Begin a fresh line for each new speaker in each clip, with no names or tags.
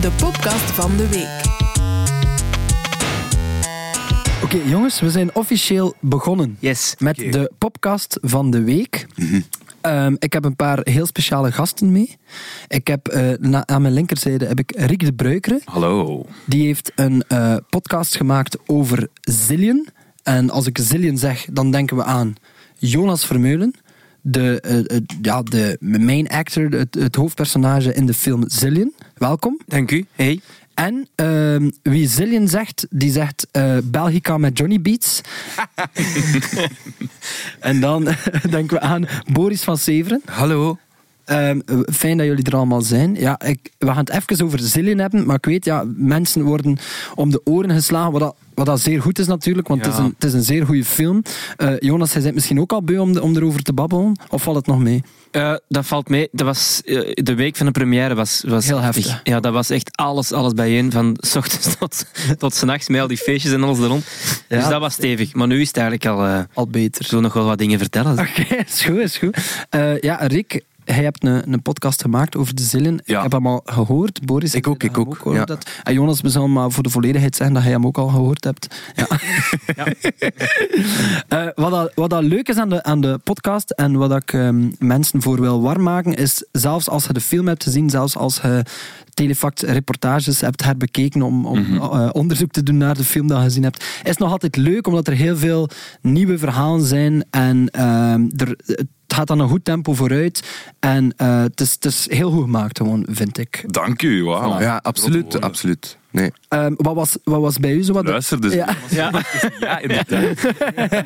de podcast van de week.
Oké, jongens, we zijn officieel begonnen
Yes.
met de podcast van de week. Ehm, ik heb een paar heel speciale gasten mee. Ik heb, eh, na- aan mijn linkerzijde heb ik Rick de Bruikere.
Hallo.
Die heeft een eh, podcast gemaakt over Zillion. En als ik Zillion zeg, dan denken we aan Jonas Vermeulen. De, eh, eh, ja, de main actor, het, het hoofdpersonage in de film Zillion. Welkom.
Dank u. Hey.
En ehm, wie Zillion zegt, die zegt eh, Belgica met Johnny Beats. en dan denken we aan Boris van Severen.
Hallo.
Ehm, fijn dat jullie er allemaal zijn. Ja, ik, we gaan het even over Zillion hebben, maar ik weet, ja, mensen worden om de oren geslagen, wat dat, wat dat zeer goed is natuurlijk, want het,
Ja.
is een, het is een zeer goede film. Eh, Jonas, jij bent misschien ook al beu om, de- om erover te babbelen, of valt het nog mee?
Eh, dat valt mee. Dat was, eh, de week van de première was, was
Heel heftig.
Ja, dat was echt alles, alles bijeen. Van s ochtends tot, tot s nachts, met al die feestjes en alles erom. dus dat was stevig. Maar nu is het eigenlijk al... eh
Al beter.
ik wil nog wel wat dingen vertellen.
Oké, is goed, is goed. Eh, ja, Rick, jij hebt een, een podcast gemaakt over de zillen.
Ja.
Ik heb hem al gehoord. Boris,
Ik ook,
heb
ik
hem
ook,
gehoord.
ja.
Dat. En Jonas, we zullen maar voor de volledigheid zeggen dat jij hem ook al gehoord hebt. Ja. Eh, wat, dat, wat dat leuk is aan de, aan de podcast en wat dat ik ehm, mensen voor wil warm maken, is zelfs als je de film hebt gezien, zelfs als je telefact reportages hebt herbekeken om, om eh, onderzoek te doen naar de film dat je gezien hebt, is het nog altijd leuk omdat er heel veel nieuwe verhalen zijn en ehm, er, het gaat aan een goed tempo vooruit. En eh, het, is, het is heel goed gemaakt gewoon, vind ik.
Dank u, wauw.
Ja, absoluut, absoluut. Nee.
Ehm, wat, was, wat was bij u zo wat de-
Luister dus.
Ja.
Ja, inderdaad.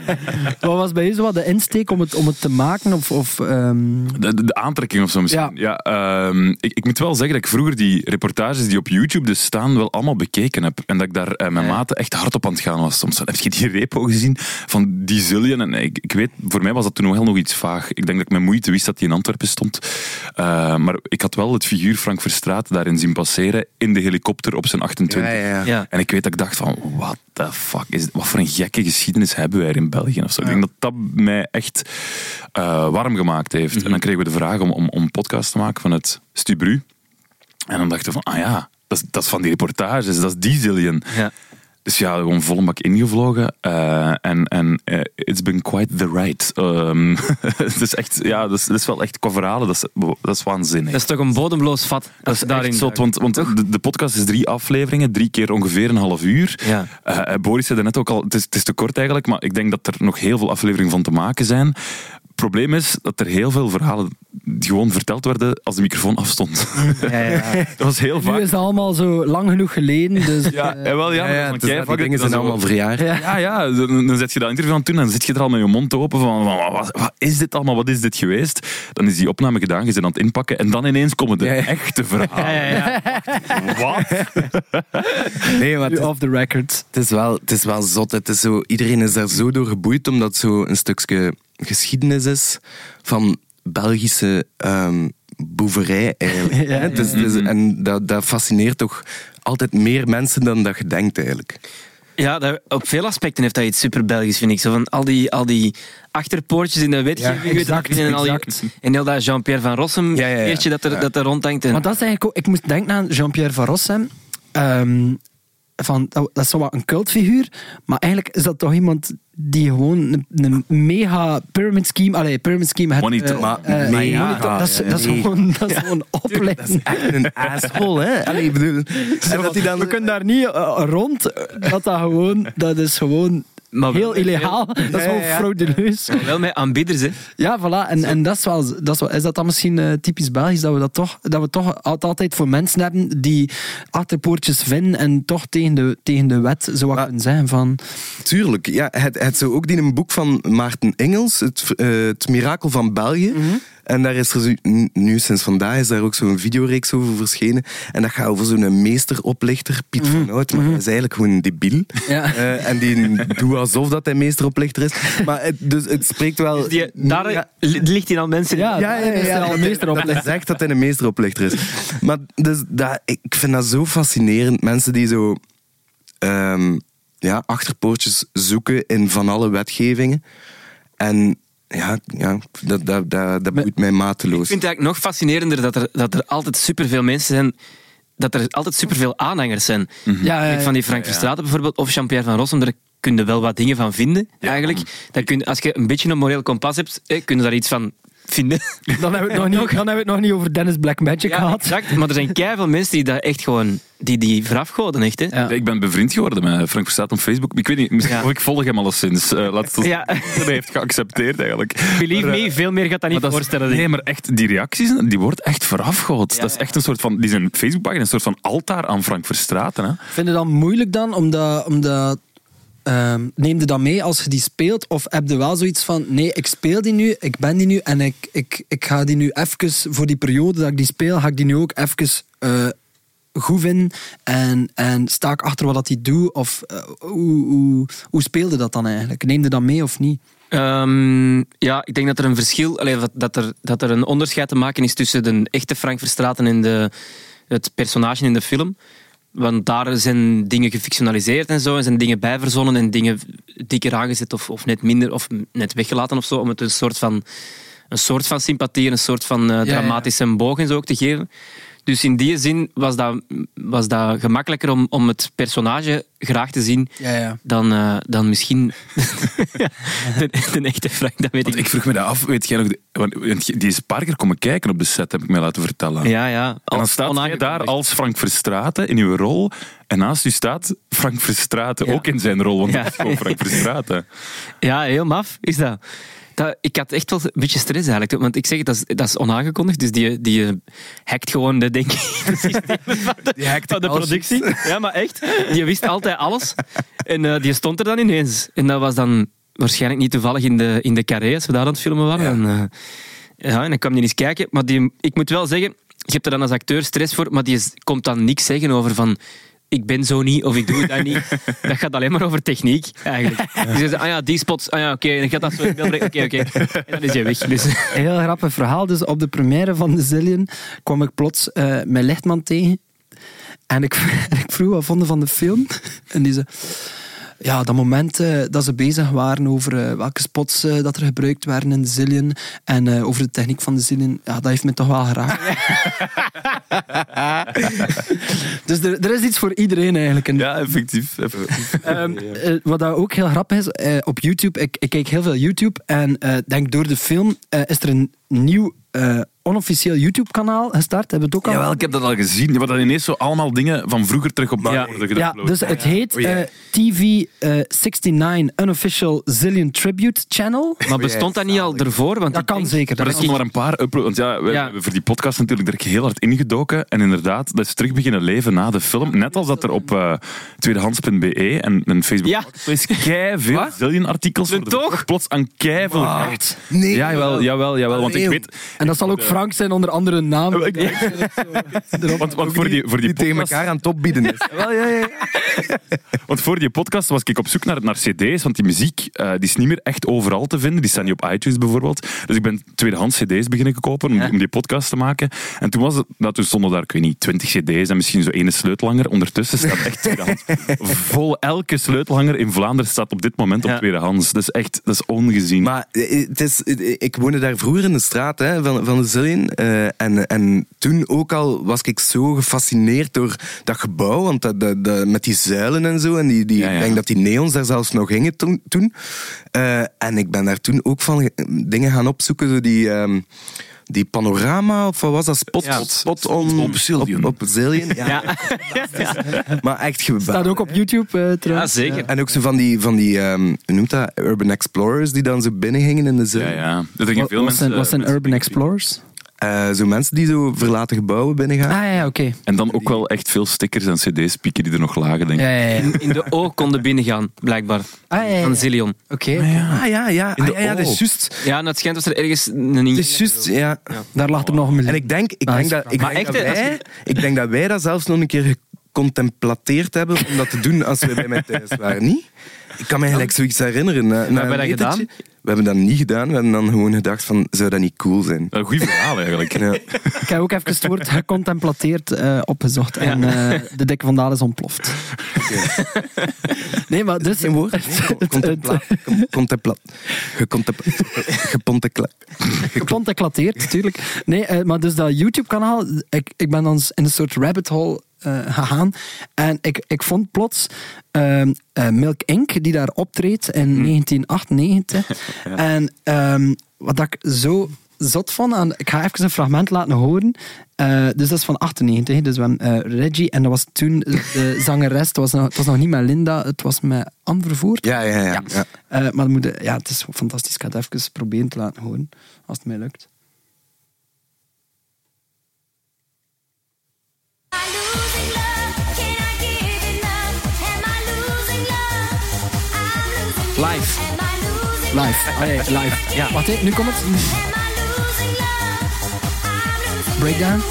Wat was bij u zo wat de insteek om het, om het te maken? Of, of, ehm,
De, de- de aantrekking of zo misschien. Ja. ehm, ik, ik moet wel zeggen dat ik vroeger die reportages die op YouTube dus staan, wel allemaal bekeken heb. En dat ik daar eh, mijn maten echt hard op aan het gaan was. Soms heb je die repo gezien van die zillion. En eh, ik, ik weet, voor mij was dat toen nog heel nog iets vaag. Ik denk dat ik met moeite wist dat die in Antwerpen stond. Eh, maar ik had wel het figuur Frank Verstraet daarin zien passeren in de helikopter op zijn 28.
Ja, ja, ja.
Ja.
En ik weet dat ik dacht van, what the fuck, is, dit- wat voor een gekke geschiedenis hebben wij er in België? Of zo. Ik denk dat dat mij echt eh, warm gemaakt heeft. En dan kregen we de vraag om, om, om een podcast te maken van het Stubru. En dan dachten we van, ah ja, dat is, dat is van die reportages, dat is die zillion.
Ja.
Dus ja, gewoon volle bak ingevlogen. eh, En en eh, it's been quite the ride. Ehm, het is echt, ja, dat is, dat is wel echt, qua verhalen, dat is, dat is waanzinnig.
Dat is toch een bodemloos vat.
Dat is daarin
eh,
zot, want, want de, de podcast is drie afleveringen, drie keer ongeveer een half uur.
Ja.
Eh, Boris zei dat net ook al, het is, het is te kort eigenlijk, maar ik denk dat er nog heel veel afleveringen van te maken zijn. Het probleem is dat er heel veel verhalen die gewoon verteld werden als de microfoon afstond.
Ja, ja, ja.
dat was heel
Nu
vaak.
is het allemaal zo lang genoeg geleden, dus...
Ja, eh, wel, ja,
Ja,
maar
ja,
van,
het is-
kijk,
die
fuck it,
dingen
dat
zijn
is
allemaal
wel-
verjaard.
ja, ja, dan, dan zet je dat interview aan toe en dan zit je er al met je mond open van wa- wat, wat is dit allemaal, wat is dit geweest? Dan is die opname gedaan, je bent aan het inpakken en dan ineens komen de
Ja, ja.
echte verhalen.
Ja, ja, ja.
Wat?
Nee, maar het is,
Off the record.
het is wel, het is wel zot. Het is zo, iedereen is daar zo door geboeid, omdat het zo een stukje geschiedenis is van Belgische ehm, boeverij eigenlijk.
Ja,
Hè? Het is- het is- en dat, dat fascineert toch altijd meer mensen dan dat je denkt eigenlijk.
Ja, dat- op veel aspecten heeft dat iets super Belgisch, vind ik. Zo van al die, al die achterpoortjes in de wetgeving. weet je,
exact,
en, al die-
exact.
en heel dat Jean-Pierre van Rossum
Ja, ja, ja.
eertje dat er, dat er rondhangt. En,
Maar dat is eigenlijk ook... Ik moest denken aan Jean-Pierre Van Rossem. Ehm, van, dat dat is zo wat een cultfiguur, maar eigenlijk is dat toch iemand die gewoon een, een mega pyramid scheme... Allee, pyramid scheme... Het,
Monitor,
eh,
maar
eh,
mega.
monitor, dat is, dat is
Nee.
gewoon, dat is gewoon opleiding.
Echt een asshole, hè? Allee, ik bedoel... En dat die dan...
We kunnen daar niet eh, rond. Dat, dat, gewoon, dat is gewoon
Maar we-
heel illegaal. Dat is gewoon
ja, ja.
frauduleus.
Maar wel met aanbieders, hè.
Ja, voilà. En, en dat is wel, dat is wel. Is dat dan misschien eh, typisch Belgisch dat we dat toch, dat we toch al- altijd voor mensen hebben die achterpoortjes vinden en toch tegen de, tegen de wet zo wat
Maar-
kunnen zeggen van.
Tuurlijk, ja. Het, het zo ook die een boek van Maarten Engels, het, eh, het Mirakel van België.
Mhm.
En daar is er zo- nu- nu sinds vandaag is daar ook zo'n videoreeks over verschenen. En dat gaat over zo'n meesteroplichter, Piet
Mhm.
van Hout. Maar dat is eigenlijk gewoon een debiel.
Ja.
Eh, en die doet alsof dat hij meesteroplichter is. Maar het, dus het spreekt wel...
Die, daar
Ja.
li- ligt hij al mensen in.
Ja,
Ja, ja, ja,
is er
ja,
al
dat
een
hij-
meester
Dat hij
op.
zegt dat hij een meesteroplichter is. Maar dus, dat, ik vind dat zo fascinerend. Mensen die zo ehm, ja, achterpoortjes zoeken in van alle wetgevingen. En ja, ja dat, dat, dat, dat boeit mij mateloos.
Ik vind het eigenlijk nog fascinerender dat er, dat er altijd superveel mensen zijn dat er altijd superveel aanhangers zijn.
Mhm. Ja, ja,
Kijk,
ja.
Van die Frank Verstraeten bijvoorbeeld, of Jean-Pierre Van Rossum, daar kun je wel wat dingen van vinden, eigenlijk. Dat kun, als je een beetje een moreel kompas hebt, eh, kun je daar iets van vinden.
Dan hebben, we het nog niet, dan hebben we het nog niet over Dennis Black Magic gehad.
exact. Maar er zijn keiveel mensen die daar echt gewoon... Die, die verafgoden, echt, hè.
Ja.
Ik ben bevriend geworden met Frank Verstaat op Facebook. Ik weet niet, misschien
Ja.
of ik volg hem alleszins. eh laat het
Ja.
Hij heeft geaccepteerd eigenlijk.
Believe
Maar, eh,
me, veel meer gaat dat niet
maar dat is-
voorstellen. denk ik.
nee, maar echt, die reacties, die wordt echt voorafgehold. dat is echt een soort van, die zijn Facebookpagina, een soort van altaar aan Frank Verstraeten. Hè?
Vind je dat moeilijk dan? Omdat, omdat ehm, neem je dat mee als je die speelt? Of heb je wel zoiets van, nee, ik speel die nu, ik ben die nu en ik, ik, ik ga die nu even, voor die periode dat ik die speel, ga ik die nu ook even eh, goed vinden en, en sta ik achter wat dat die doet? Of eh, hoe, hoe, hoe speelde dat dan eigenlijk? Neem je dat mee of niet?
Ehm, ja, ik denk dat er een verschil, allee, dat, dat, er, dat er een onderscheid te maken is tussen de echte Frank Verstraeten en de, het personage in de film. Want daar zijn dingen gefictionaliseerd en zo, en zijn dingen bijverzonnen en dingen dikker aangezet of, of net minder, of net weggelaten of zo, om het een soort van, een soort van sympathie en een soort van eh,
ja.
dramatische boog en zo ook te geven. Dus in die zin was dat, was dat gemakkelijker om, om het personage graag te zien
Ja, ja.
dan, eh, dan misschien de, de echte Frank, dat weet ik
Want ik vroeg me dat af, weet jij nog, de- want- want die is een paar keer komen kijken op de set, heb ik mij laten vertellen.
Ja, ja.
En dan staat jij daar als Frank Verstraeten in uw rol. En naast u staat Frank Verstraeten
Ja.
ook in zijn rol, want
Ja.
dat is gewoon Frank Verstraeten.
Ja, heel maf is dat. dat. Ik had echt wel een beetje stress eigenlijk. Want ik zeg, het, dat is, dat is onaangekondigd. Dus die, die eh, hackt gewoon de, denk ik, de systemen van de, van de
alles.
productie. Ja, maar echt. Die wist altijd alles. En eh, die stond er dan ineens. En dat was dan waarschijnlijk niet toevallig in de, in de carré als we daar aan het filmen waren. En, eh, ja, en dan kwam die eens kijken. Maar die, ik moet wel zeggen, je hebt er dan als acteur stress voor. Maar die is- komt dan niks zeggen over van... Ik ben zo niet, of ik doe dat niet. Dat gaat alleen maar over techniek, eigenlijk. Dus je zegt, ah ja, die spots, ah ja, oké, dan gaat dat zo in beeld brengen, oké, oké. En dan is hij weg. Dus,
Een heel grappig verhaal. Dus op de première van de Zillion kwam ik plots eh, mijn lichtman tegen. En ik, ik vroeg wat vonden van de film. En die zei... Ja, dat moment eh, dat ze bezig waren over eh, welke spots eh, dat er gebruikt werden in de Zillion en eh, over de techniek van de Zillion, ja, dat heeft me toch wel geraakt. dus er, er is iets voor iedereen eigenlijk. in de
Ja, effectief. effectief.
Ehm, eh, wat dat ook heel grappig is, eh, op YouTube, ik, ik kijk heel veel YouTube en eh, denk door de film eh, is er een nieuw eh, onofficieel YouTube-kanaal gestart. Hebben we het ook al?
Jawel, ik heb dat al gezien. Wat dan ineens zo allemaal dingen van vroeger terug op ja. worden
Ja,
geüpload.
dus het heet eh, TV eh, 69 Unofficial Zillion Tribute Channel.
maar bestond dat niet al ervoor? Want
Dat
ik
kan
denk-
zeker.
Maar
dat
er
kan
stonden maar een paar uploads. Want ja, we
Ja.
hebben voor die podcast natuurlijk er heel hard ingedoken. En inderdaad, dat is terug beginnen leven na de film. Net als dat er op eh, tweedehands.be en, en Facebook
Ja.
Marketplace keiveel
Wat?
zillion artikels worden
toch?
verkocht. Plots aan keiveel.
Nee.
Ja, jawel, jawel, jawel. Want ik
Eeuw.
weet...
En dat zal ook Frank zijn onder andere naam.
Ik- Want, want voor die, voor die
Die tegen
podcast-
elkaar aan het opbieden is.
Want voor die podcast was ik op zoek naar, naar cd's, want die muziek eh, die is niet meer echt overal te vinden. Die staan niet op iTunes bijvoorbeeld. Dus ik ben tweedehands cd's beginnen kopen om, die- om die podcast te maken. En toen, was het, nou, toen stonden daar, ik weet niet, twintig cd's en misschien zo ene sleutelhanger. Ondertussen staat echt tweedehands. Vol elke sleutelhanger in Vlaanderen staat op dit moment op
Ja.
tweedehands. Dat is echt, dat is ongezien.
Maar eh, het is, eh, ik woonde daar vroeger in de straat hè, van, van de Zillion. eh, en, en toen ook al was ik zo gefascineerd door dat gebouw. Want dat, dat, dat- met die zuilen en zo. En die, die,
Ja, ja.
Ik denk dat die neons daar zelfs nog hingen toen. toen. Eh, en ik ben daar toen ook van eh, dingen gaan opzoeken. Zo die, ehm, die panorama, of wat was dat? Spot,
Ja,
spot on,
op Zillion.
Op, op Zillion, ja.
Ja,
Maar echt geweldig.
staat ook op YouTube eh,
ja,
trouwens.
zeker.
En ook zo van die, van die ehm, hoe noemt dat? Urban Explorers die dan zo binnengingen in de zee.
ja, ja. Er gingen
Wat,
veel
wat zijn,
mensen,
wat zijn
eh, mensen-
Urban Explorers?
Eh, zo mensen die zo verlaten gebouwen binnengaan.
Ah ja, ja, oké.
En dan ook wel echt veel stickers en cd's pieken die er nog lagen, denk ik.
Ja, ja, ja.
In de O konden binnengaan, blijkbaar.
Ah, ja, ja, ja.
Van Zillion.
Oké,
Ah ja, ja. Ah,
de
ja, ja, dat
oorlog.
is juist.
Ja, en het schijnt was er ergens een
Dat is juist, ja.
daar lag er nog een miljoen.
En ik denk, ik
Ah,
denk,
is-
dat, ik
Maar
denk,
echt,
dat,
hè,
wij,
als
ik denk dat wij dat zelfs nog een keer gecontemplateerd hebben om dat te doen als we bij mij thuis waren. Niet? Ik kan me eigenlijk zoiets herinneren. Na, na
hebben
een
we dat
etentje. We hebben dat niet gedaan. We hebben dan gewoon gedacht van, zou dat niet cool zijn?
Een goed Eh, verhaal eigenlijk.
Ja.
Ik heb ook even het woord gecontemplateerd eh, opgezocht. En eh, de dikke vandaal is ontploft. Nee, maar dus...
Geen woord.
Het-
Contempla... Gecontempla... Gepontempla...
Gecontemplateerd, natuurlijk. Nee, eh, maar dus dat YouTube-kanaal... Ik, ik ben dan in een soort rabbit hole eh, gegaan. En ik, ik vond plots ehm, eh, Milk Inc. die daar optreedt in 1998. En ehm, wat dat ik zo zot vond, aan, ik ga even een fragment laten horen. Eh, dus dat is van 98, dus we hebben eh, Reggie en dat was toen de zangeres, het was, nog, het was nog niet met Linda, het was met Anne Vervoer.
Ja, ja, ja. ja.
Eh, maar het, moet, ja, het is fantastisch. Ik ga het even proberen te laten horen, als het mij lukt.
Am I losing love? Can I give it love? Am I losing love? I'm losing you.
Live.
Am I losing
Live. Ah, ja, ja, live.
Ja.
Wacht, hè, nu komt het.
Am I losing love? I'm losing you.
Breakdown.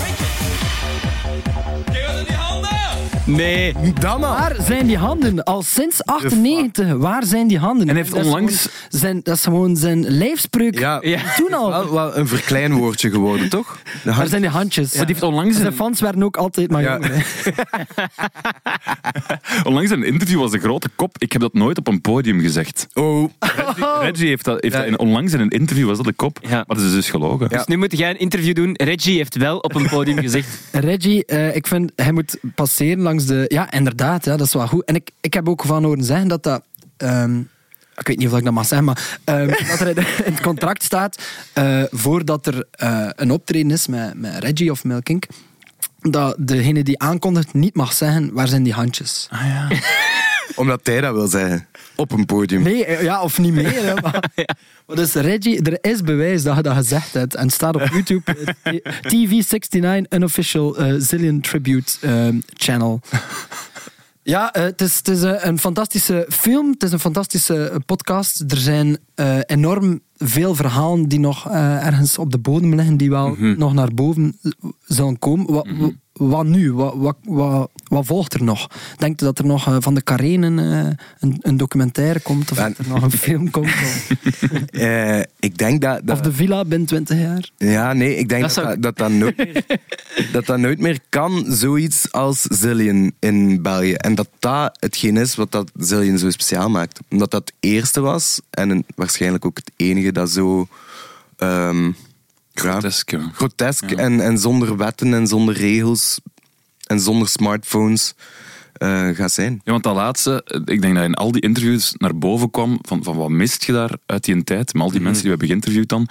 Nee.
Dan al.
Waar zijn die handen? Al sinds 98, waar zijn die handen?
En hij heeft
Dat is
onlangs-
gewoon Zijn, dat is gewoon zijn lijfspreuk.
Ja.
Ja.
Toen al.
Wel, wel een verkleinwoordje geworden, toch? De
Waar
hand-
zijn die handjes?
Maar die heeft onlangs
Zijn
een-
fans werden ook altijd maar
Ja.
jonger, hè.
Onlangs in een interview was de grote kop. Ik heb dat nooit op een podium gezegd.
Oh,
Reggie, Reggie heeft dat, heeft
Ja.
dat in, onlangs in een interview was dat de kop.
Ja.
Maar dat is dus gelogen.
Ja.
Dus nu moet jij een interview doen. Reggie heeft wel op een podium gezegd.
Reggie, eh, ik vind, hij moet passeren langs de... Ja, inderdaad, ja, dat is wel goed. En ik, ik heb ook van horen zeggen dat dat... ehm, ik weet niet of ik dat mag zeggen, maar ehm, dat er in- in het contract staat, eh, voordat er eh, een optreden is met, met Reggie of Milk Inc., dat degene die aankondigt niet mag zeggen waar zijn die handjes.
omdat hij dat wil zeggen. Op een podium.
Nee, eh, ja, of niet meer. Hè, maar. Maar Dus Reggie, er is bewijs dat je dat gezegd hebt. En het staat op YouTube eh, TV69 Unofficial eh, Zillion Tribute ehm, Channel. Ja, eh, het is, het is eh, een fantastische film. Het is een fantastische eh, podcast. Er zijn eh, enorm veel verhalen die nog eh, ergens op de bodem liggen, die wel
Mhm.
nog naar boven z- zullen komen. Wat, wat nu? Wat, wat, wat, wat volgt er nog? Denkt u dat er nog eh, van de Karenen eh, een, een documentaire komt? Of
Ja.
dat er nog een film komt? Of,
Eh, ik denk dat... dat
of de villa binnen 20 jaar?
Ja, nee, ik denk dat
Dat
dat,
zou
dat, dat nooit meer, dat dat nooit meer kan, zoiets als Zillion in België. En dat dat hetgeen is wat dat Zillion zo speciaal maakt. Omdat dat het eerste was en een- waarschijnlijk ook het enige dat zo... ehm, ja,
Grotesk, ja.
grotesk en, en zonder wetten en zonder regels en zonder smartphones eh, gaat zijn.
Ja, want dat laatste, eh, ik denk dat in al die interviews naar boven kwam van, van wat mist je daar uit die tijd, met al die
Mhm.
mensen die we hebben geïnterviewd dan.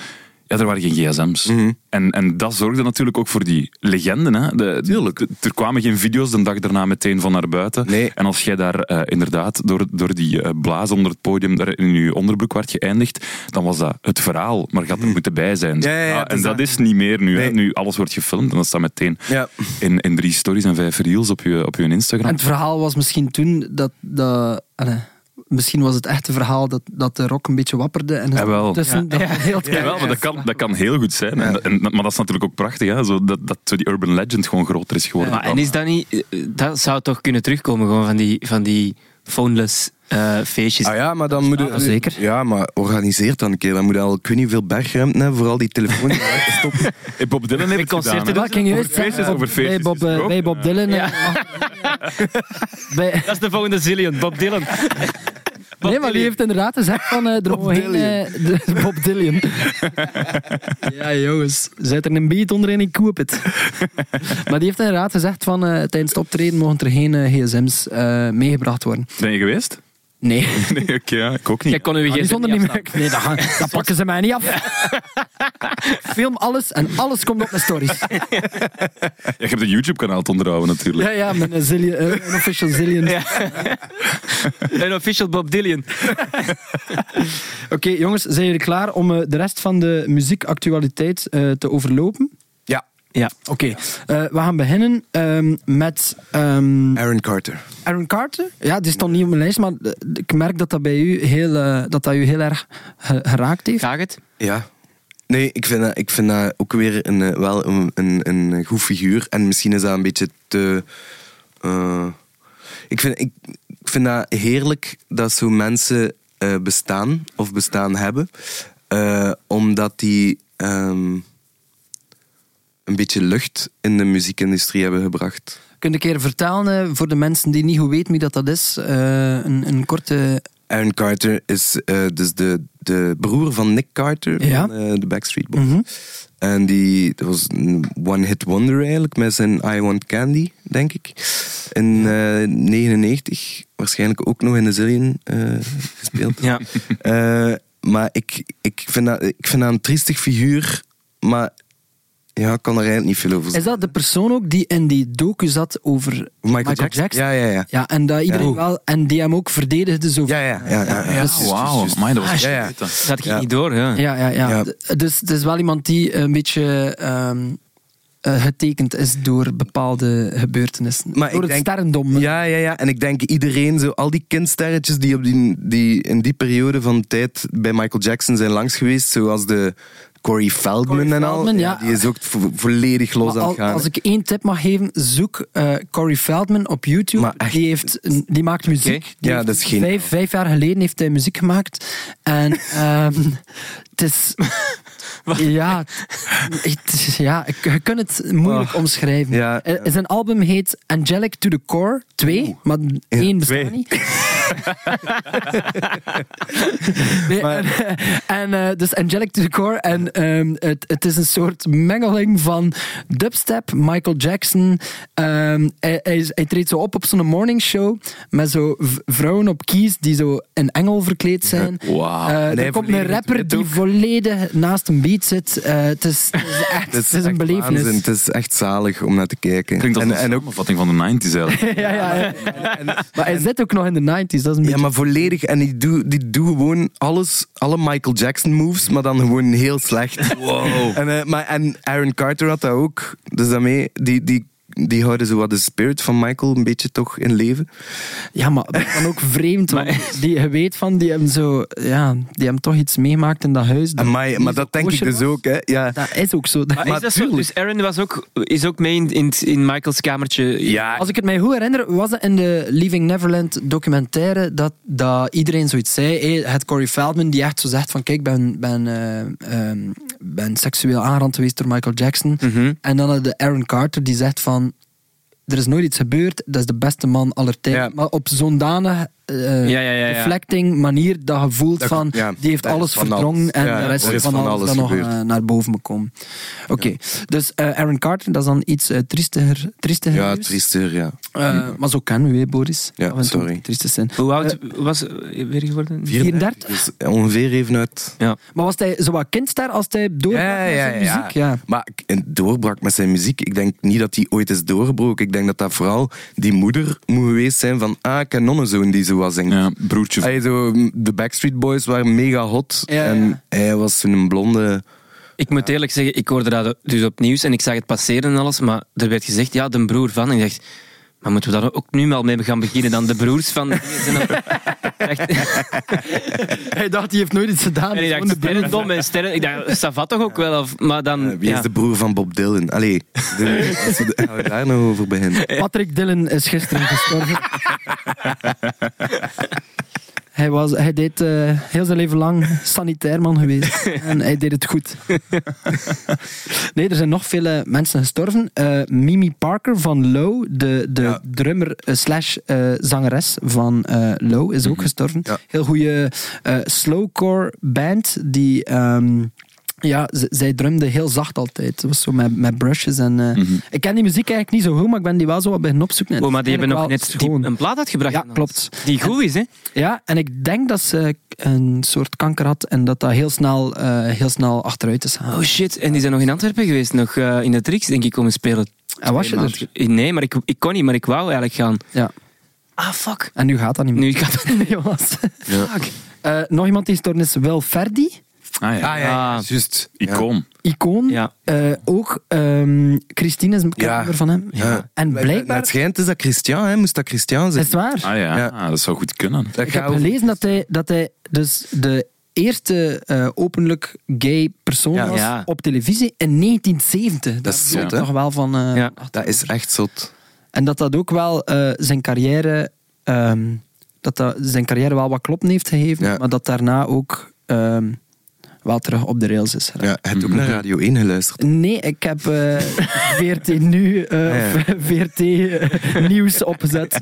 Ja, er waren geen gsm's. En, en dat zorgde natuurlijk ook voor die legenden. Hè? De, Tuurlijk. er kwamen geen video's de dag daarna meteen van naar buiten.
Nee.
En als jij daar eh, inderdaad door, door die eh, blaas onder het podium daar in je onderbroek werd geëindigd, dan was dat het verhaal, maar gaat er moeten bij zijn.
Mhm.
Ah,
Ja, ja, ja, het
en
is
dat
dat.
is niet meer nu. Hè?
Nee.
Nu alles wordt gefilmd en dat staat meteen
Ja.
in, in drie stories en vijf reels op je, op je Instagram.
En het verhaal was misschien toen dat... dat allee, misschien was het echte verhaal dat, dat de rock een beetje wapperde. En
Ja, wel.
tussen dat heel
Ja, wel, maar dat kan, dat kan heel goed zijn. En, en- maar dat is natuurlijk ook prachtig, hè? Zo, dat, dat zo die urban legend gewoon groter is geworden.
Maar, en is dat niet... eh, Dat zou toch kunnen terugkomen gewoon van die, van die phoneless eh, feestjes.
Ah ja, maar dan moet je-
Ja, zeker.
Ja, maar organiseer het dan een keer. Dan moet je al, ik weet niet hoeveel bergruimte hebben voor al die telefoons. Stop.
Eh, Bob Dylan heeft
Met
het
concerten
gedaan, hè.
doen.
Dat ging juist
Over feestjes,
zeggen,
over
Bob-
feestjes
bij Bob, eh,
gesproken.
bij Bob Dylan.
Ja.
eh, mag- bij,
Dat is de volgende zillion, Bob Dylan. Bob
nee, maar die
Dylan.
heeft inderdaad gezegd van eh er mogen geen, eh, de- Bob Dylan. ja, jongens. Zet er een beat onder en ik koop het. maar die heeft inderdaad gezegd van eh, tijdens het optreden mogen er geen eh, gsm's eh, meegebracht worden.
Ben je geweest?
Nee.
Nee, oké, ja, ik ook niet.
Jij kon uw
Ah, die
gsm
zonder
niet
niet meer.
afstaan.
Nee, dat, gaan- dat pakken ze mij niet af. Film alles en alles komt op mijn stories.
Ja, je hebt een YouTube-kanaal te onderhouden natuurlijk.
Ja, ja, mijn eh, zillion, eh, unofficial zillion.
Een official Bob Dylan.
Oké, jongens, zijn jullie klaar om eh, de rest van de muziekactualiteit eh, te overlopen?
ja,
Ja.
Oké, eh, we gaan beginnen ehm, met ehm,
Aaron Carter.
Aaron Carter. Ja, die stond niet op mijn lijst, maar eh, ik merk dat dat bij u heel, eh, dat dat u heel erg ge- geraakt heeft.
Graag het.
Ja. Nee, ik vind, dat- ik vind dat ook weer een, eh, wel een, een, een goed figuur. En misschien is dat een beetje te... eh, ik, vind, ik, ik vind dat heerlijk dat zo mensen eh, bestaan of bestaan hebben. eh, omdat die ehm, een beetje lucht in de muziekindustrie hebben gebracht.
Kun je een keer vertellen eh, voor de mensen die niet goed weten wie dat, dat is? eh, een, een korte.
Aaron Carter is eh, dus de, de broer van Nick Carter
Ja.
van eh, de Backstreet Boys.
Mhm.
En die, dat was een one-hit wonder eigenlijk, met zijn I Want Candy, denk ik. In eh 99, waarschijnlijk ook nog in de Zillion eh, gespeeld.
Ja.
Eh, maar ik, ik, vind dat, ik vind dat een triestig figuur, maar ja, ik kan er eigenlijk niet veel over
Is
zeggen.
dat de persoon ook die in die docu zat over Michael, Jackson?
Ja, ja, ja.
Ja, en dat iedereen
Ja.
wel... En die hem ook verdedigde zo.
Ja, ja, ja. ja, ja.
Ja, wauw. Amai, dat was
Ja, ja.
echt goed, hè.
Dat ging
Ja.
niet door, ja.
Ja, ja, ja.
Ja.
D- Dus het is wel iemand die een beetje ehm, eh, getekend is door bepaalde gebeurtenissen.
Maar
door het
ik denk-
sterrendom.
Ja, ja, ja. En ik denk iedereen, zo, al die kindsterretjes die, op die, die in die periode van tijd bij Michael Jackson zijn langs geweest, zoals de Corey Feldman,
Corey
en al,
Feldman, ja.
die is ook vo- volledig los
Maar
aan
al-
het gaan.
als ik één tip mag geven, zoek eh, Corey Feldman op YouTube.
Maar echt-
die, heeft, een- die maakt muziek.
Oké.
Die
Ja,
heeft
dat is geen-
Vijf, vijf jaar geleden heeft hij muziek gemaakt. En ehm, het is... ja, het is- ja, ik- je kunt het moeilijk omschrijven.
Ja.
Eh, Zijn album heet Angelic to the Core 2, maar één bestaat
twee.
niet. Nee, en, eh, dus Angelic to the Core. En ehm, het, het is een soort mengeling van dubstep, Michael Jackson. Ehm, hij, hij, is- hij treedt zo op op zo'n morning show met zo v- vrouwen op keys die zo in engel verkleed zijn.
Wauw.
Eh,
En
hij
er komt een
volledig
rapper
wit
die
ook.
volledig naast een beat zit. Eh, het, is, het is echt
Het
het is een
echt
belevenis.
waanzin. Het is echt zalig om naar te kijken.
Klinkt als
en,
een
en ook,
samenvatting van de 90s eigenlijk.
ja, ja, ja. maar hij zit ook nog in de 90s. Dat is een
ja,
beetje
maar volledig. En die doet die doe gewoon alles, alle Michael Jackson moves, maar dan gewoon heel slecht.
Wow.
En, eh, maar, en Aaron Carter had dat ook. Dus daarmee, die, die, die houden zo wat de spirit van Michael een beetje toch in leven.
Ja, maar dat is dan ook vreemd. want die, je weet van, die hebben, zo, ja, die hebben toch iets meegemaakt in dat huis. dat
Amai,
niet
maar
zo
dat denk ik
kosher
dus
was.
ook. Hè. Ja.
Dat is ook zo.
Maar
Dat-
is
Maar
dat zo?
tuurlijk.
Dus Aaron was ook, is ook mee in, in, in Michaels kamertje.
Ja,
Als ik het mij goed herinner, was het in de Leaving Neverland documentaire dat, dat iedereen zoiets zei. Hey, het Corey Feldman die echt zo zegt van kijk, ik ben, ben, eh, ehm, ben seksueel aanrand geweest door Michael Jackson.
Mhm.
En dan had de Aaron Carter die zegt van er is nooit iets gebeurd, dat is de beste man aller tijden.
Ja.
Maar op zo'n danig eh,
Ja, ja, ja, ja.
reflecting manier dat je voelt
Dat-
van
ja,
die heeft
daar is
alles
van
verdrongen
alles.
en
Ja,
de rest
er is
van,
van
alles,
alles
dat nog
gebeurd.
eh, naar boven moet komen. Oké, dus eh, Aaron Carter, dat is dan iets eh, triestiger, triestiger
Ja,
nieuws.
triester, ja.
Eh, Maar zo kennen we, hè, Boris.
Ja,
Af en toe
sorry.
moet Trieste zijn.
Hoe oud was eh, weer geworden?
34?
Dus ongeveer even uit.
Ja.
Maar was hij zo wat kindster als hij doorbrak met zijn muziek? Ja.
Maar ik- en doorbrak met zijn muziek. Ik denk niet dat hij ooit is doorgebroken. Ik denk dat dat vooral die moeder moet geweest zijn van ah, ik ken nog een zoon die zo was zingt.
Ja, broertje.
Hij zo, de Backstreet Boys waren mega hot.
Ja, ja, ja.
En hij was toen een blonde.
Ik moet eerlijk zeggen, ik hoorde dat dus opnieuw en ik zag het passeren en alles, maar er werd gezegd, ja, de broer van. En ik dacht, maar moeten we daar ook nu al mee gaan beginnen dan de broers van? Zijn dat- Echt.
Hij dacht, hij heeft nooit iets gedaan. Dus
En ik dacht, sterrendom en sterren... Ik dacht, Savat toch ook wel? Of, maar dan...
Eh, Wie
ja.
is de broer van Bob Dylan? Allee, de- als we, gaan we daar nou over beginnen?
Patrick Dillon is gisteren gestorven. hij, was, hij deed eh, heel zijn leven lang sanitairman geweest. en hij deed het goed. nee, er zijn nog vele mensen gestorven. Eh, Mimi Parker van Low, de, de
Ja.
drummer eh, slash eh, zangeres van eh, Low, is
Mhm.
ook gestorven.
Ja.
Heel goede eh, slowcore band die... ehm, ja, z- zij drumde heel zacht altijd. Het was zo met, met brushes en... eh, Ik ken die muziek eigenlijk niet zo goed, maar ik ben die wel zo wat beginnen opzoeken. En
Mhm. Oh, maar die
het
hebben
is
nog net
eigenlijk
die-
wel
een plaat uitgebracht.
Ja, klopt.
Die goed is, hè?
Ja, en ik denk dat ze een soort kanker had en dat dat heel snel, eh, heel snel achteruit is gegaan.
Oh shit, en die zijn nog in Antwerpen geweest, nog eh, in de Trix, denk ik, komen spelen.
En Ah, was je
Twee
er?
maanden- Nee, maar ik, ik kon niet, maar ik wou eigenlijk gaan.
Ja.
Ah, fuck.
En nu gaat dat niet meer.
Nu gaat het...
Nee, Jonas.
Fuck.
Eh, nog iemand die gestorven is, Wil Ferdi.
Ah ja,
ja, ja. Ah.
juist.
icoon.
Icoon.
Ja.
Eh, ook ehm, Christine is een bekende
Ja.
van hem.
Ja.
En
Naar
blijkbaar...
het schijnt is dat Christian, hè? moest dat Christian
Is
zijn.
het waar?
Ah ja,
Ja.
Ah, dat zou goed kunnen.
Dat
Ik
gaat
heb
over-
gelezen dat hij, dat hij dus de eerste eh, openlijk gay persoon
Ja.
was
Ja.
op televisie in 1970. Dat,
is
wil
zot,
je
hè?
toch wel van... eh,
Ja.
Dat is echt zot.
En dat dat ook wel eh, zijn carrière... ehm, dat dat zijn carrière wel wat kloppen heeft gegeven,
Ja.
maar dat daarna ook ehm, wel terug op de rails is geraakt.
Ja, hij heeft ook
Mhm.
naar Radio 1 geluisterd.
Nee, ik heb eh, VRT nu, eh,
Ah, Ja, ja.
VRT eh, nieuws opgezet.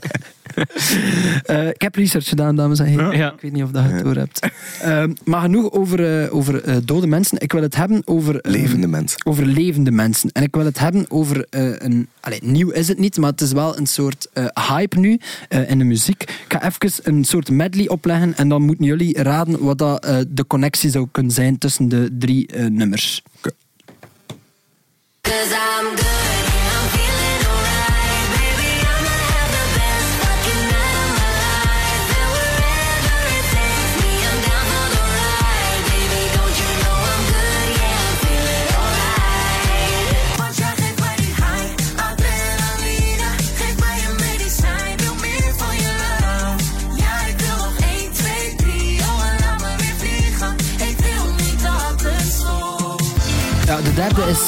Eh, ik heb research gedaan, dames en heren.
Ja.
Ik weet niet of dat je het door hebt. Ehm, maar genoeg over, eh, over eh, dode mensen. Ik wil het hebben over... eh,
Levende mensen.
Over levende mensen. En ik wil het hebben over eh, een... Allee, nieuw is het niet, maar het is wel een soort eh, hype nu eh, in de muziek. Ik ga even een soort medley opleggen en dan moeten jullie raden wat dat, eh, de connectie zou kunnen zijn tussen de drie eh, nummers.
Cause I'm good, I'm feeling alright. Baby, I'ma have the best fucking night of my life. And wherever it takes me, I'm down for the ride. Baby, don't you know I'm good? Yeah, I'm feeling alright. Watch out, take what you hide. I've been a leader. Take what you made it shine. Build me for your love. Ja, ik wil nog één, twee, drie. Oh, en laat me weer vliegen. Ik wil niet dat het stopt.
Ja, de derde is...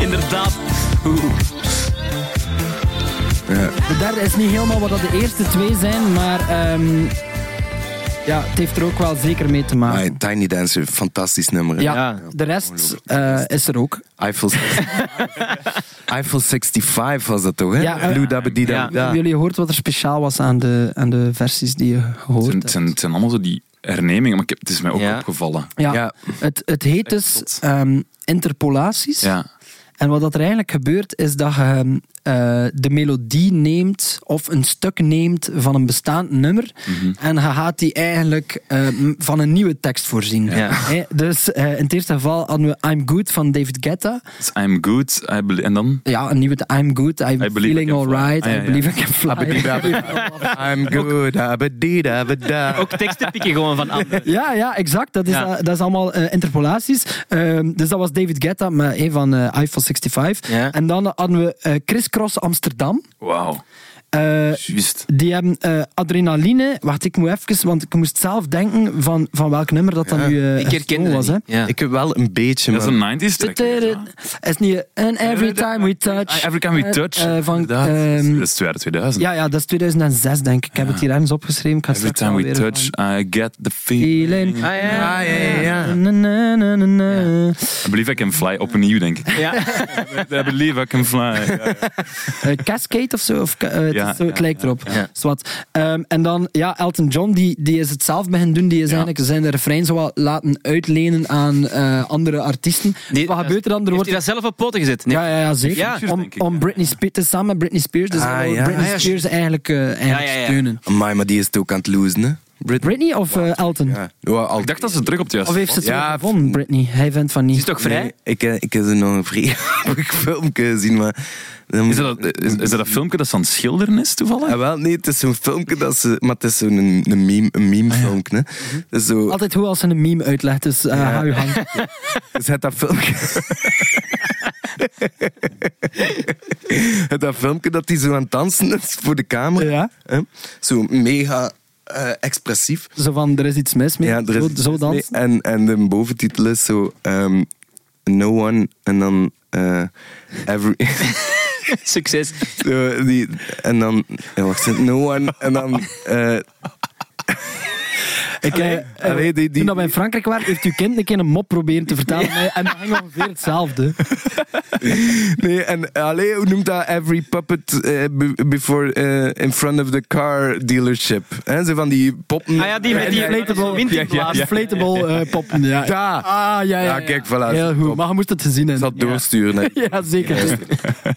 Inderdaad.
De derde is niet helemaal wat dat de eerste twee zijn, maar ehm, ja, het heeft er ook wel zeker mee te maken.
Ah, Tiny Dancer, fantastisch nummer. hè?
Ja,
Ja.
de rest eh, is er ook.
Eiffel, Eiffel 65 was dat toch, hè?
Ja, eh,
Blue Dabba Dee Dabba
Ja.
Da.
Jullie hoort wat er speciaal was aan de, aan de versies die je
Het
gehoord
zijn, het
hebt.
zijn, het zijn allemaal zo die hernemingen, maar ik heb, het is mij ook
Ja.
opgevallen.
Ja,
Ja.
Het, het heet dus ehm, interpolaties.
Ja.
En wat dat er eigenlijk gebeurt, is dat je ehm, eh, de melodie neemt of een stuk neemt van een bestaand nummer.
Mhm.
En je gaat die eigenlijk eh, m- van een nieuwe tekst voorzien.
Ja.
Hè, dus eh, in het eerste geval hadden we I'm Good van David Guetta.
Dus I'm good, I believe- en dan...
Ja, een nieuwe I'm Good, I'm
I believe I
Feeling
can fly.
Alright,
Ah, ja,
I
ja.
Believe I Can Fly.
I'm good, dabba dee dabba da.
Ook teksten pikken gewoon van anderen.
Ja, ja, exact. Dat is,
Ja.
dat is allemaal eh, interpolaties. Ehm, dus dat was David Guetta met, eh, van eh iPhone 65.
Ja.
En dan hadden we eh Chris Cross Amsterdam.
Wauw.
Eh,
Juist.
die hebben eh, adrenaline. Wacht, ik moet even, want ik moest zelf denken van, van welk nummer dat dan nu eh,
Ik herkende
was.
was,
Hè.
Ja.
Ik heb wel een beetje,
Dat is
maar-
een 90s track. ja.
Is niet eh, And Every Time We Touch.
Ah, Every Time We
Eh,
Touch.
eh, van,
Inderdaad.
ehm,
dat is het jaar 2000.
ja, ja, dat is 2006 denk ik. Ik heb het hier ergens opgeschreven. Ik ga
Every
straks
time we
wel weer
touch, I get the
van-
feeling.
Feeling.
Ah, ja.
Ah, ja, ja, ja.
Na, na, na, na, na.
I believe I can fly opnieuw, denk ik.
ja.
I believe I can fly.
Eh, Cascade of zo. Of, eh, het,
Ja,
is zo het
ja,
lijkt erop. Zwat. Ehm, en dan, ja, Elton John, die, die is het zelf beginnen doen. Die is eigenlijk zijn refrein zo wat laten uitlenen aan eh, andere artiesten.
Die-
Wat gebeurt er dan? Er
Heeft
wordt
hij dat zelf op poten gezet? Nee.
Ja, ja, ja zeker.
Ja.
Om,
denk ik,
om
ja.
Britney Spears, dus samen met Britney Spears. Dus
Ah,
we willen
ja.
Britney
Ah, ja,
Spears eigenlijk, eh, eigenlijk
Ja, ja, ja.
steunen.
Amai, maar die is het ook aan het losen, hè? Brit-
Britney of eh, Elton?
Ja. Ja, al-
Ik dacht dat ze druk op het
Of
juiste
heeft ze het
Ja,
wel gewonnen, Britney? Hij vindt van niet.
Is toch vrij?
Nee, ik, eh, ik heb ze nog een vrij filmpje gezien, maar... dan-
Is dat, is, is dat dat filmpje dat ze aan het schilderen is, toevallig?
Ah, wel, nee, het is zo'n filmpje dat ze... Maar het is zo'n een, een meme, een
Ah,
meme filmpje, hè. Het is zo...
Altijd hoe als ze een meme uitlegt, dus eh, hou je hand.
Zet dat filmpje... dat filmpje dat hij zo aan het dansen is voor de camera.
Ja.
hè. Zo mega eh, expressief.
Zo van, er is iets mis mee.
Ja, er is,
zo, zo dansen.
nee, en, en de boventitel is zo... ehm, no one... En dan... eh, every...
Succes.
Zo, die, en dan... eh, Wacht, no one... En dan... eh,
Ik, eh, eh,
allee, die- die-
Toen dat we in Frankrijk waren, heeft uw kind een keer een mop proberen te vertalen. En dat ging ongeveer hetzelfde.
Nee, en allee, hoe noemt dat? Every puppet eh, be- before eh, in front of the car dealership. hè zo van die poppen.
Ah ja, die met die
Inflatable,
windinblaas.
inflatable eh, poppen. Ja.
Ja.
Ah, ja, ja,
Ja, kijk, voilà.
Heel goed,
Top.
maar je moest het gezien
Ik
hebben.
zal het doorsturen. hè.
Ja, zeker.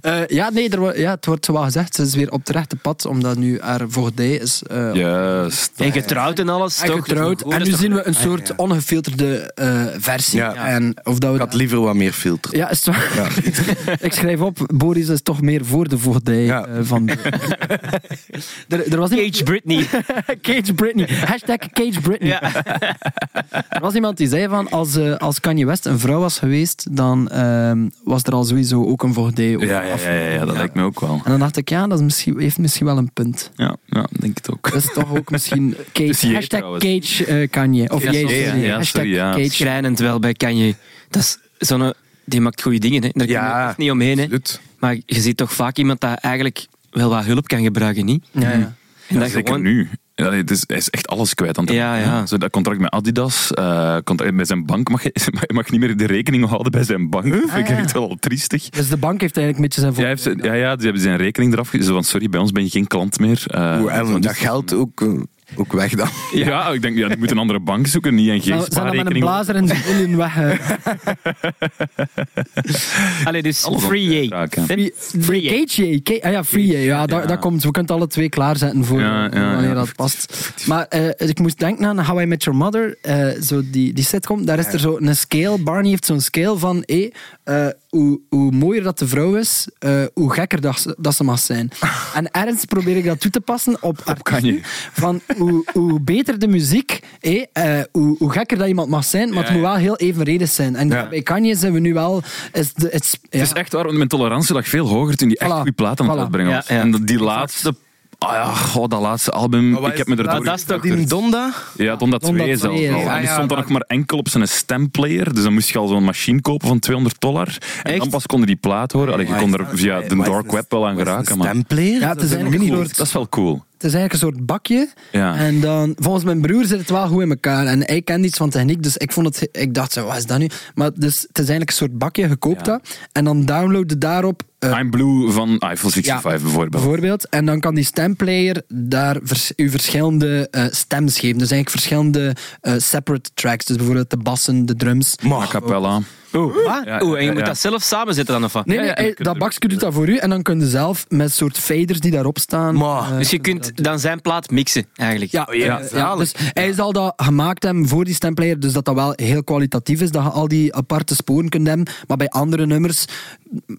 Eh, ja, nee, er, wo- ja, het wordt wel gezegd, ze is weer op het rechte pad, omdat nu haar voogdij is eh
Juist.
En getrouwd en alles.
en
toch?
getrouwd.
Goed,
En
dat
nu
is
zien
toch-
we een soort ongefilterde eh, versie.
Ja.
En of dat we
Ik had liever wat meer filter.
ja, is het waar? ik schrijf op, Boris is toch meer voor de voogdij
Ja.
eh, van... de- er, er was iemand-
Cage Britney.
Cage Britney. Hashtag Cage Britney.
Ja.
Er was iemand die zei van, als, eh, als Kanye West een vrouw was geweest, dan ehm, was er al sowieso ook een voogdij. over
Ja, ja, ja, ja, ja, dat lijkt me ook wel.
En dan dacht ik, ja, dat is misschien, heeft misschien wel een punt.
Ja, ja denk het ook.
Dat is toch ook misschien Cage.
is jij
hashtag
trouwens.
Cage eh, Kanye. Of
Ja,
jij,
sorry,
sorry.
ja,
Hashtag
sorry, ja.
Cage.
Schrijnend wel bij Kanye. Dat is zo'n... Die maakt goede dingen, hè. daar kun je
Ja,
echt niet omheen. Hè.
absoluut.
Maar je ziet toch vaak iemand dat eigenlijk wel wat hulp kan gebruiken, niet?
Ja, ja.
En dat
Zeker
gewoon-
nu. Ja, nee, het is, hij is echt alles kwijt aan het
Ja,
einde.
ja.
Zo, dat contract met Adidas, eh, contract met zijn bank mag je je mag niet meer de rekening houden bij zijn bank. Dat vind
Ah,
ik
ja.
echt wel triestig.
Dus de bank heeft eigenlijk een beetje zijn
Ja,
voor.
hij heeft, zijn- ja, ja, die hebben zijn rekening eraf gezet. van sorry, bij ons ben je geen klant meer. Eh,
Oeh, en
want-
dat geld ook, eh, ook weg dan.
Ja, ik denk, ja, ik moet een andere bank zoeken, niet een
Zou- zou dat met een
spaarrekening.
blazer en zijn billen weg. eh,
Allee, dus
Alles
free
Ja,
J.
oké.
free-
Free J.
Cage, K- ah ja, Free J. Ja, dat,
Ja.
dat komt. We kunnen het alle twee klaarzetten voor
Ja,
eh,
ja,
wanneer
ja.
dat past. Maar eh, ik moest denken aan How I Met Your Mother, eh, zo die, die sitcom. Daar is er zo een scale. Barney heeft zo'n scale van hé, eh, hoe, hoe mooier dat de vrouw is, eh, hoe gekker dat ze, dat ze mag zijn. en ergens probeer ik dat toe te passen op artiesten.
Kanye.
Van hoe, hoe beter de muziek, hé, eh, hoe, hoe gekker dat iemand mag zijn, maar het
Ja,
moet
ja.
wel heel evenredig zijn. En
Ja.
bij Kanye zijn we nu wel... Is de, is, ja.
Het is echt waar, want mijn tolerantie lag veel hoger toen die echt
Voilà.
goede platen aan het
Voilà.
uitbrengen
Ja,
was.
ja.
En dat- die laatste... Ah ja, goh, dat laatste album,
Maar wat
ik
is-
heb me er
wat
door...
dat is toch-
Die Donda?
Ja, Donda
Donda
2 zelfs al.
twee, ja.
En die
Ah,
stond
ja,
dan
maar-
nog maar enkel op zijn stemplayer. Dus dan moest je al zo'n machine kopen van 200 dollar. En dan
Echt?
pas konden die plaat horen. Allee, je kon er via de dark web wel aan geraken. Maar
Stemplayer?
Ja, het is eigenlijk een soort-
dat is wel cool.
Het is eigenlijk een soort bakje.
Ja.
En dan, volgens mijn broer zit het wel goed in elkaar. En hij kent iets van techniek, dus ik, vond het, ik dacht, zo, wat is dat nu? Maar dus, het is eigenlijk een soort bakje, je koopt
Ja.
dat. En dan download je daarop, eh,
I'm Blue van Eiffel 65 bijvoorbeeld.
bijvoorbeeld. En dan kan die stemplayer daar vers, u verschillende eh, stems geven. Dus eigenlijk verschillende eh, separate tracks. Dus bijvoorbeeld de bassen, de drums.
A cappella.
Wat?
Ja,
Oeh, en je
ja,
moet
ja.
dat zelf samenzetten dan of wat?
Nee,
Ja,
nee,
ja, en
hij-
je kunt
dat
er-
bakje doet dat voor u. En dan kun je zelf met soort faders die daarop staan.
Maar-
eh,
Dus je kunt dan zijn plaat mixen, eigenlijk.
Ja,
ja,
eh, ja,
zalig.
dus hij zal dat gemaakt hebben voor die stemplayer, dus dat dat wel heel kwalitatief is, dat je al die aparte sporen kunt hebben. Maar bij andere nummers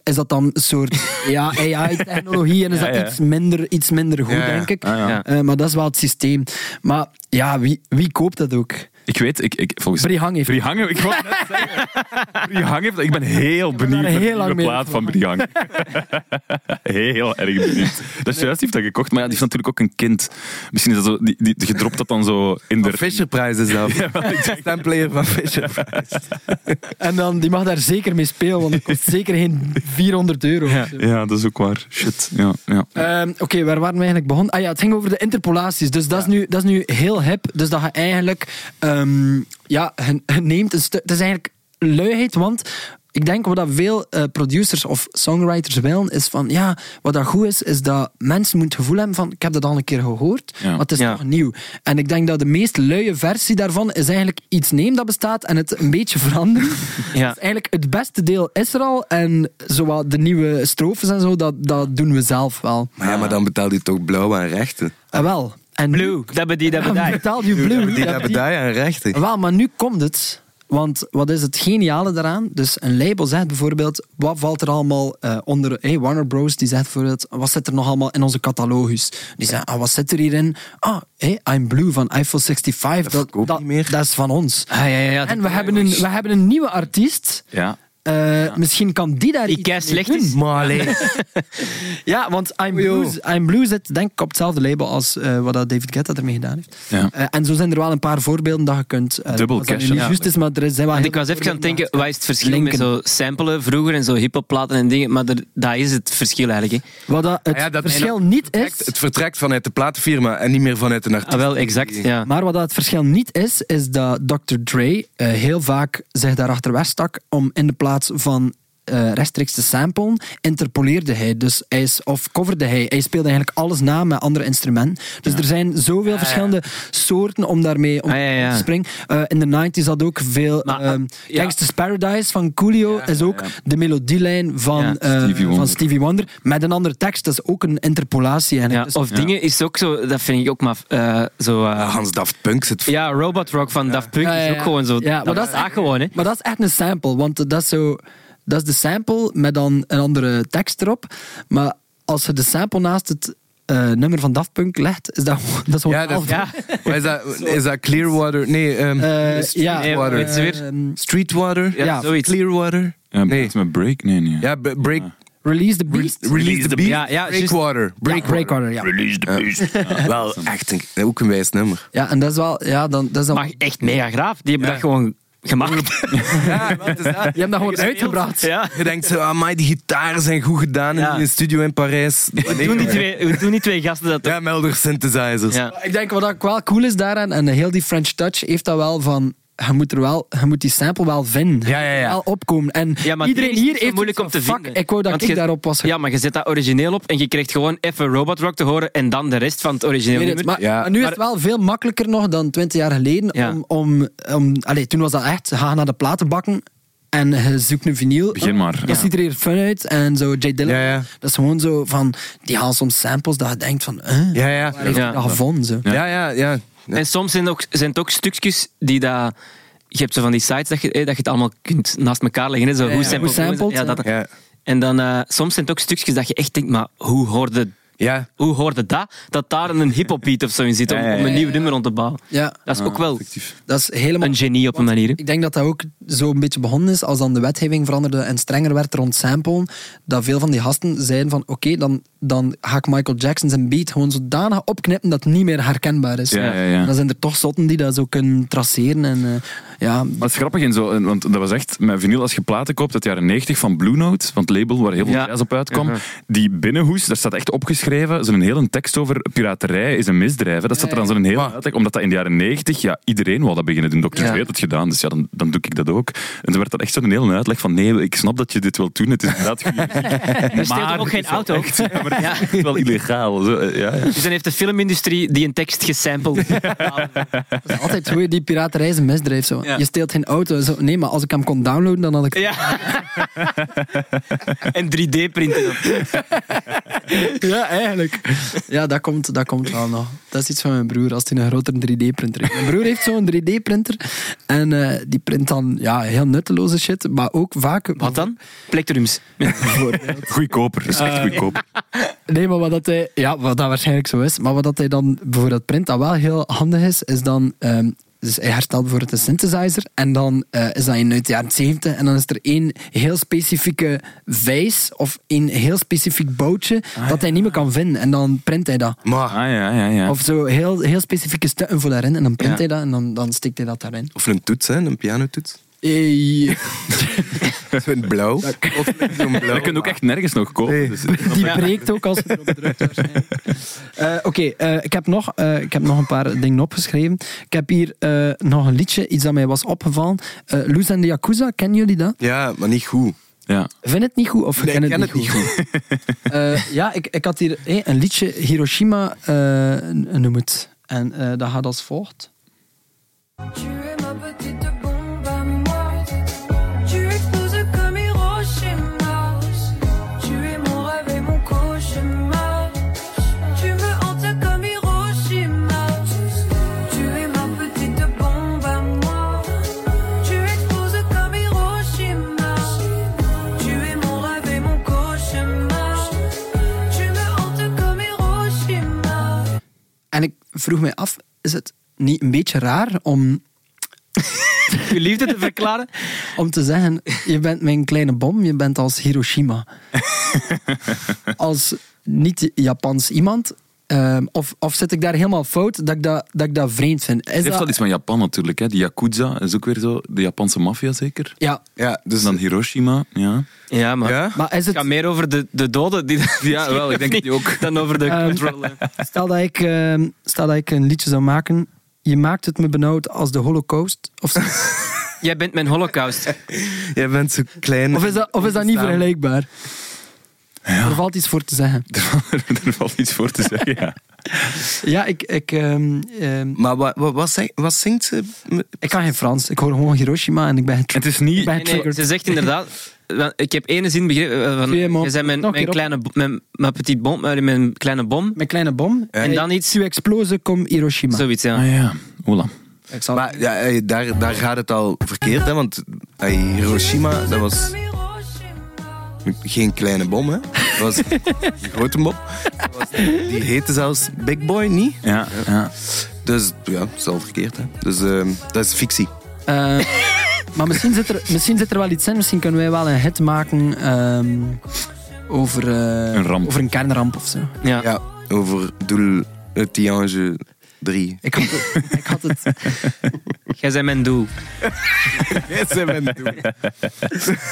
is dat dan een soort ja, AI-technologie en is
Ja,
dat
ja.
Iets, minder, iets minder goed,
Ja, ja.
denk ik.
Ah, ja.
Ja.
Eh, maar dat is wel het systeem. Maar ja, wie, wie koopt dat ook?
Ik weet, ik, ik, volgens
Brie Hang heeft
Brie Hang, ik wou net zeggen. Brie Hang heeft, ik ben heel benieuwd
daar heel
naar de
lang
nieuwe
mee
plaat van Brie Hang. heel erg benieuwd. Dat is juist, die heeft dat gekocht, maar ja, die heeft natuurlijk ook een kind. Misschien is dat zo, die, die, die gedropt dat dan zo in de...
Fisher Prize is dat. Stemplayer van Fisher Price.
En dan, die mag daar zeker mee spelen, want dat kost zeker geen 400 euro. of zo.
Ja, dat is ook waar. Shit, ja. ja.
Ehm, Oké, waar waren we eigenlijk begonnen? Ah ja, het ging over de interpolaties. Dus dat, is, nu, dat is nu heel hip. Dus dat je eigenlijk... ehm, ja, je- je neemt een stuk... Het is eigenlijk luiheid, want... Ik denk wat dat veel eh, producers of songwriters willen, is van ja, wat dat goed is, is dat mensen moeten het gevoel hebben van ik heb dat al een keer gehoord,
Ja.
maar het is
Ja.
nog nieuw. En ik denk dat de meest luie versie daarvan is eigenlijk iets neem dat bestaat en het een beetje veranderen.
Ja.
Dus eigenlijk het beste deel is er al. En zowel de nieuwe strofes en zo, dat, dat doen we zelf wel.
Maar ja, maar dan betaalt hij toch blauw aan rechten.
En wel. En
Blue, dat ben die, dat ben die.
Betaal je blue.
Die
Ja,
hebben
die-
daar aan rechten.
Wel, maar nu komt het. Want wat is het geniale daaraan? Dus een label zegt bijvoorbeeld, wat valt er allemaal eh, onder... Hey, Warner Bros. die zegt bijvoorbeeld, wat zit er nog allemaal in onze catalogus? Die zeggen, ah, wat zit er hierin? Ah, hey, I'm Blue van Eiffel 65. Dat,
verkoopt
dat,
niet meer.
dat is van ons.
Ah, ja, ja, ja.
En we hebben een, we hebben een nieuwe artiest.
ja.
Eh, Misschien kan die daar
Die
iets
kei
mee
slecht
doen.
is.
Maar alleen.
Ja, want I'm Blue, I'm Blue zit denk ik op hetzelfde label als eh, wat dat David Guetta ermee gedaan heeft.
Ja.
Eh, en zo zijn er wel een paar voorbeelden dat je kunt... eh,
Dubbel
als dat nu
cashen,
niet juist is, maar er zijn wel
Want
heel
ik was
veel
even aan het
voorbeelden
denken, wat is het verschil
Linken.
met zo samplen vroeger en zo hiphopplaten en dingen, maar er, dat is het verschil eigenlijk. Hè.
Wat dat, het
Ah ja, dat-
verschil niet
Vertrekt-
is...
Het vertrekt vanuit de platenfirma en niet meer vanuit een artiest.
Ah, wel, exact. Ja.
Maar wat dat het verschil niet is, is dat Dr. Dre eh, heel vaak zich daarachter wegstak om in de plaats van eh, rechtstreeks te samplen, interpoleerde hij. Dus hij is, of coverde hij. Hij speelde eigenlijk alles na met andere instrumenten. Dus er zijn zoveel verschillende soorten om daarmee om
Ah, ja, ja.
te springen. Eh, in de 90s had ook veel...
Maar, ah,
ehm,
ja.
Gangsta's Paradise van Coolio is ook de melodielijn van,
Ja.
eh,
Stevie Wonder.
van Stevie Wonder. Met een andere tekst. Dat is ook een interpolatie.
Ja,
eigenlijk. Dus-
of dingen is ook zo, dat vind ik ook maar eh, zo. eh,
Ah, Hans Daft Punk zit
ja, Robot Rock van Daft Punk
Ja, ja,
is ook
ja.
gewoon zo.
Ja, maar
dat
dat
is
is-
dat gewoon, hè?
Maar dat is echt een sample, want dat is zo... Dat is de sample met dan een andere tekst erop. Maar als je de sample naast het eh, nummer van Daft Punk legt, is dat, gewoon- dat is gewoon...
Ja, dat-
hetzelfde.
Wat Is, dat, is dat Clearwater? Nee, ehm,
Eh, ja,
Streetwater.
eh, weet je weer?
ehm,
Streetwater?
Ja,
Ja,
zoiets.
Clearwater?
ja
Nee.
iets met break? Nee, nee.
Ja, b- break,
Release the Beast.
release, the beat.
Ja, ja, juist.
breakwater.
Ja,
breakwater.
Breakwater, ja.
Release the beast. Ja.
Wel echt een, ook een wijs nummer.
Ja, en dat is wel... Ja, dan, dat is dan
Maar echt mega graaf. Die hebben dat gewoon gemaakt.
Ja, wat is dat?
Je hebt dat gewoon uitgebracht.
Ja.
Je denkt zo, ah, amai, die gitaren zijn goed gedaan in
Ja.
een studio in Parijs. Nee,
Doen die
hoor.
twee, hoe doen die twee gasten dat?
Ja, Melder synthesizers.
Ja.
Ik denk wat ook wel cool is daaraan, en heel die French touch heeft dat wel van. Je moet, er wel, je moet die sample wel vinden.
Ja, ja, ja.
Wel opkomen. En
Ja, maar
iedereen
die is
hier
zo
heeft
moeilijk om
zoiets
te
van,
vinden.
Fuck, ik wou dat
Want
ik
je-
daarop was.
Ja, maar je zet dat origineel op en je krijgt gewoon even Robot Rock te horen en dan de rest van het origineel
Ik weet
nummer.
het, maar,
Ja.
maar nu is het wel veel makkelijker nog dan 20 jaar geleden.
Ja.
Om, om, om, allee, toen was dat echt, ga naar de platenbakken en je zoekt een vinyl.
Begin maar,
Dat
ja.
ziet er hier fun uit. En zo Jay Dillon,
Ja, ja.
dat is gewoon zo van, die haalt soms samples dat je denkt van, eh,
Ja, ja.
waar heeft hij
Ja.
dat gevonden? Zo.
Ja, ja, ja.
En soms zijn, ook, zijn het ook stukjes die dat... Je hebt zo van die sites dat je, eh, dat je het allemaal kunt naast elkaar leggen. Hè? Zo,
ja.
hoe sampled,
Hoe sampled,
ja, dat,
Ja.
En dan eh, soms zijn het ook stukjes dat je echt denkt, maar hoe hoorde,
Ja.
hoe hoorde dat? Dat daar een hip-hop beat of zo in zit om,
Ja, ja, Ah, ja.
om een nieuw nummer rond te bouwen.
Ja,
Dat is ook wel
Effectief.
dat is helemaal...
een genie op een manier. hè.
Ik denk dat dat ook zo'n beetje begonnen is als dan de wetgeving veranderde en strenger werd rond samplen. Dat veel van die gasten zeiden van oké, dan, dan ga ik Michael Jackson zijn beat gewoon zodanig opknippen dat het niet meer herkenbaar is.
Ja, ja, ja.
Dan zijn er toch zotten die dat zo kunnen traceren. En, eh, ja,
Maar het is grappig, en zo, en- want dat was echt mijn vinyl als je platen koopt uit de jaren 90 van Blue Note, van het label waar heel veel
Ja.
jazz op uitkwam. Die binnenhoes, daar staat echt opgeschreven, zo'n hele tekst over piraterij is een misdrijf. hè. Dat staat er dan zo'n hele uitleg, omdat dat in de jaren 90, ja, iedereen wou dat beginnen doen. Dr.
Ja.
Dre had het gedaan, dus ja, dan, dan doe ik dat ook. En toen werd dat echt zo'n hele uitleg van, nee, ik snap dat je dit wilt doen, het is inderdaad goed.
Er steelt toch
Maar
ook
het
geen
is wel
auto.
echt- ja, maar het is echt wel illegaal. Zo, eh, ja, ja.
Dus dan heeft de filmindustrie die een tekst gesampled.
dat is altijd hoe die piraterij is een misdrijf. Zo.
Ja.
Je steelt geen auto. Zo. Nee, maar als ik hem kon downloaden, dan had ik...
Ja. en 3D-printen.
Ja, eigenlijk. Ja, dat komt, dat komt wel nog. Dat is iets van mijn broer, als hij een grotere 3D-printer heeft. Mijn broer heeft zo'n 3D-printer en eh, die print dan ja, heel nutteloze shit, maar ook vaak...
Wat dan? Plectrums.
Goedkoper, dat is echt goedkoper.
Nee, maar wat dat hij... Ja, wat dat waarschijnlijk zo is. Maar wat dat hij dan bijvoorbeeld print, dat wel heel handig is, is dan... ehm, dus hij herstelt bijvoorbeeld een synthesizer en dan eh, is dat in uit de jaren 70 en dan is er één heel specifieke vijs of één heel specifiek boutje
Ah,
dat hij niet meer kan vinden en dan print hij dat.
Ah,
Maar,
ja, ja, ja.
Of zo heel, heel specifieke stukken voor daarin. En dan print
Ja.
hij dat en dan, dan stikt hij dat daarin.
of een toets, hè, een pianotoets.
Eh,
Zo'n blauw. Of zo'n blauw.
dat kun je ook echt nergens nog kopen.
Nee.
dus-
die breekt ook als het erop drukt waarschijnlijk. Eh, Oké, eh, ik, heb nog, eh, ik heb nog een paar dingen opgeschreven. Ik heb hier eh, nog een liedje, iets dat mij was opgevallen. Eh Loes en de Yakuza, kennen jullie dat?
Ja, maar niet goed.
ja.
Vind het niet goed of
Nee,
ken
ik
het,
ken
niet goed? Eh, ja, ik, ik had hier eh, een liedje, Hiroshima eh, noem het. En eh, dat gaat als volgt.
Tu es ma petite bombe à moi. Tu exploses comme Hiroshima. Tu es mon rêve et mon cauchemar. Tu me hantes comme Hiroshima. Tu es ma petite bombe à moi. Tu exploses comme Hiroshima. Tu es mon rêve et mon cauchemar. Tu me hantes comme Hiroshima.
En ik vroeg mij af, is het niet een beetje raar om
Je liefde te verklaren.
om te zeggen, je bent mijn kleine bom, je bent als Hiroshima. als niet-Japans iemand. ehm, of, of zit ik daar helemaal fout dat ik dat, dat, ik dat vreemd vind? Is
Het heeft wel iets van Japan natuurlijk, hè? die Yakuza is ook weer zo, de Japanse maffia zeker.
Ja,
Ja, dus...
Dus dan Hiroshima, ja.
Ja, maar...
Ja?
maar is
Het gaat
het...
meer over de, de doden. Die,
Ja, wel, ik denk
dat
die ook.
Dan over de
Ehm,
control. eh.
Stel dat, ik, ehm, stel dat ik een liedje zou maken. Je maakt het me benauwd als de holocaust. Of,
Jij bent mijn holocaust.
Jij bent zo klein.
of, is, dat, of is dat niet
Staan.
vergelijkbaar? Er valt iets voor te zeggen.
er valt iets voor te zeggen, ja.
Ja, ik, ik, ehm, ehm,
Maar wat, wat, wat, zeg- wat zingt ze?
ik kan geen Frans. Ik hoor gewoon Hiroshima en ik ben
Het is niet...
Ben-
Nee, nee, ze zegt inderdaad... want Ik heb ene zin begrepen. eh, Van,
Twee, maar-
je bent mijn,
nog een
mijn,
keer
kleine, bo- mijn, mijn petit bom. eh, Mijn kleine bom.
Mijn kleine bom.
En dan iets...
Tu explose comme Hiroshima.
Zoiets, ja.
Ah ja, hola.
Ik zal-
Maar ja, eh, daar, daar gaat het al verkeerd, hè? Want eh, Hiroshima, dat was
Hiroshima.
geen kleine bom, hè? Dat was een grote bom. Dat was- Die heette zelfs Big Boy, niet?
Ja, ja.
Dus ja, het is al verkeerd, hè? Dus ehm, dat is fictie.
Eh, maar misschien zit, er, misschien zit er wel iets in. Misschien kunnen wij wel een hit maken ehm, over, eh,
Een ramp.
over een kernramp of zo.
ja.
Ja, over Doel, het Tiange. Drie.
Ik had het. Ik had het.
Jij bent mijn doel.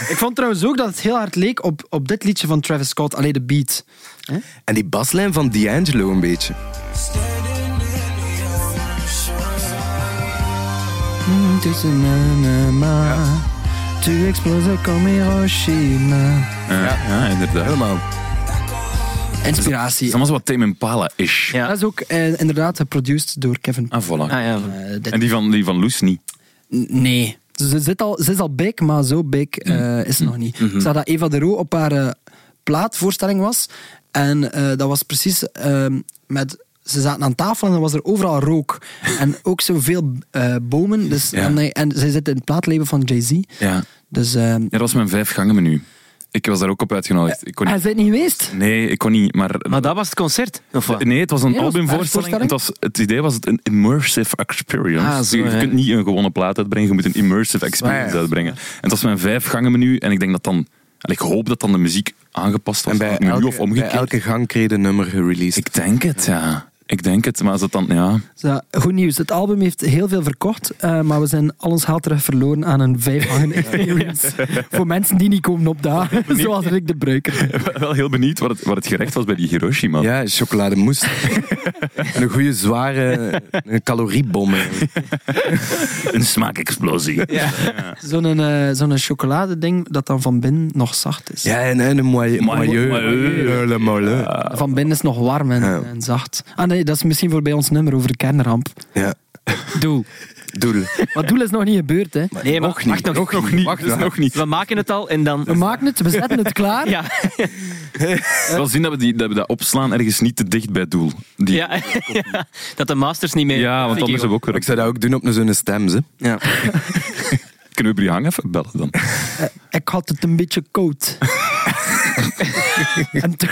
Ik vond trouwens ook dat het heel hard leek op, op dit liedje van Travis Scott, alleen de beat.
En die baslijn van D'Angelo een beetje.
Mm, Tussen Nanema, to explode comme Hiroshima.
ja. inderdaad.
Helemaal.
Het is
Inspiratie.
allemaal zo wat Tame Impala-ish.
Ja.
Dat is ook eh, inderdaad geproduced door Kevin.
Ah, voilà.
Ah, ja.
Eh, dit-
En die van, die van Loes niet.
Nee. Ze, zit al, ze is al big, maar zo big eh,
Mm.
is ze nog niet.
Mm-hmm.
Ik zag dat Eva de Roo op haar eh, plaatvoorstelling was. En eh, dat was precies ehm, met... Ze zaten aan tafel en er was er overal rook. En ook zoveel eh bomen. Dus,
Ja.
en, eh, en zij zit in het plaatleven van Jay-Z.
Ja.
Dus... ehm
ja, dat was mijn vijf gangen menu. Ik was daar ook op uitgenodigd. Ik kon
hij
niet...
Ah, is het niet geweest.
Nee, ik kon niet, maar...
Maar dat was het concert? Of wat?
Nee, het was een
Nee, dat was een
albumvoorstelling.
voorstelling.
Het, was, het idee was het een immersive experience.
Ah, zo,
je, je
ja.
kunt niet een gewone plaat uitbrengen, je moet een immersive experience uitbrengen. En het was mijn vijf gangen menu en ik denk dat dan... en Ik hoop dat dan de muziek aangepast was
En
aan
bij
het menu of
elke, bij
omgekeerd.
elke gang kreeg je een nummer gereleased.
Ik denk het, ja. Ik denk het, maar als dat dan... Ja,
Zo, goed nieuws. Het album heeft heel veel verkocht. eh, maar we zijn al ons geld terug verloren aan een vijfhangen experience. Voor mensen die niet komen opdagen. Zoals Rick de Bruiker.
wel heel benieuwd wat het, wat het gerecht was bij die Hiroshima.
Ja, chocolademousse. en een goede zware een caloriebom. eigenlijk.
Een smaakexplosie.
Zo'n eh, zo'n chocoladeding dat dan van binnen nog zacht is.
Ja, en, en een moye-
Moye-
moyeu. oh,
moyeu.
Le molle.
Van binnen is nog warm en,
Ja.
en zacht. Ah nee, dat is misschien voor bij ons nummer over de kernramp.
Ja,
Doel.
doel.
Maar doel is nog niet gebeurd, hè.
Nee, maar
Nog niet,
wacht nog.
nog
Nog niet,
Wacht,
dus
ja.
nog niet.
We maken het al en dan...
We maken het, we zetten het klaar.
Ja,
Wel zien dat we, die, dat we dat opslaan ergens niet te dicht bij het doel. Die, ja.
ja, dat de masters niet meer...
want anders hebben we ook weer...
Ik zou dat ook doen op een zo'n stem, ze.
Ja.
Kunnen we Brie Hang even bellen dan?
Eh, Ik had het een beetje koud. en toen-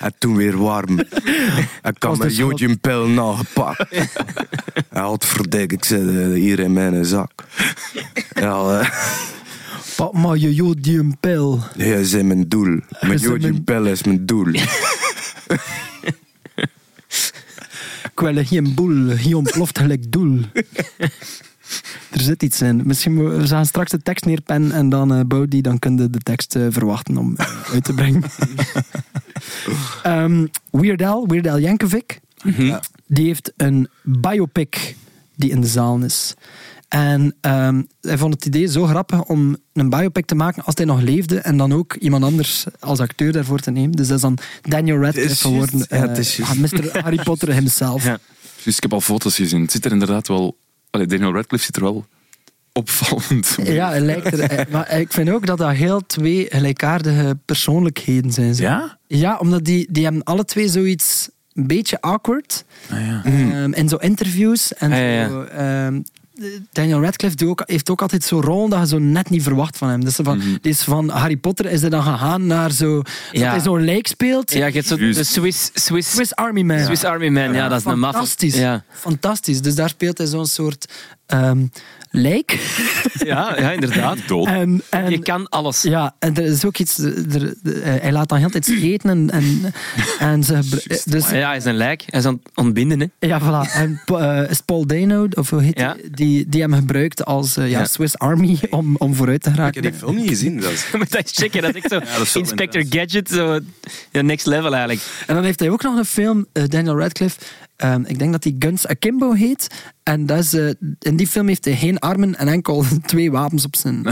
En toen weer warm. Ik kan
Was
mijn
dus wel-
jodiumpil nagepakt. Hij had verdik, ik zit eh, hier in mijn zak. Ja, eh,
pak maar je jodiumpil.
jij bent mijn doel. Mijn
bent mijn-
jodiumpil is mijn doel.
Ik wil geen boel, hier ontploft gelijk doel. Er zit iets in. Misschien mo- we gaan straks de tekst neerpennen en dan eh bouw die, dan kun je de tekst eh, verwachten om eh, uit te brengen. Ehm Weird Al, Weird Al Jankovic,
Mhm.
die heeft een biopic die in de zaal is. En ehm, hij vond het idee zo grappig om een biopic te maken als hij nog leefde en dan ook iemand anders als acteur daarvoor te nemen. Dus dat is dan Daniel Radcliffe
juist.
geworden,
Ja, het
eh,
is juist.
Mr. Harry Potter himself.
Ja.
Dus ik heb al foto's gezien. Het zit er inderdaad wel... Allee, Daniel Radcliffe zit er wel opvallend bij.
Ja, hij lijkt er. eh, Maar ik vind ook dat dat heel twee gelijkaardige persoonlijkheden zijn. zo.
Ja?
Ja, omdat die, die hebben alle twee zoiets een beetje awkward.
Ah, ja.
Ehm, en zo interviews. En
Hmm. Ah, ja, ja.
Zo, ehm, Daniel Radcliffe doet ook, heeft ook altijd zo'n rol dat je zo net niet verwacht van hem. Dus van, die is van Harry Potter is hij dan gegaan naar zo... Dat
Mhm. Ja.
hij zo'n lijk speelt.
Ja, je hebt zo
Juist.
de Swiss, Swiss,
Swiss Army Man.
Swiss Army Man, ja, dat is een maf.
Fantastisch.
Ja,
Fantastisch. Dus daar speelt hij zo'n soort ehm lijk.
ja, ja inderdaad.
Dood.
En, Eh, en,
Je kan alles.
Ja, en er is ook iets. Er, er- eh, hij laat dan heel de tijd scheten en. en, en ze, gebru- dus,
Ah Ja, hij is een lijk. Hij is aan het ontbinden, hè.
ja, voilà. En eh, is Paul Dano, of hoe heet
Ja.
die, die, die hem gebruikt als eh, ja,
Ja.
Swiss Army om, om vooruit te
Ik heb
geraken.
die film niet gezien. Dat is...
Je moet dat eens checken. Dat is echt zo
dat is wel
Inspector Gadget, zo ja, next level eigenlijk.
En dan heeft hij ook nog een film, eh, Daniel Radcliffe. ehm, ik denk dat die Guns Akimbo heet. En dat is, eh, in die film heeft hij geen armen en enkel twee wapens op zijn,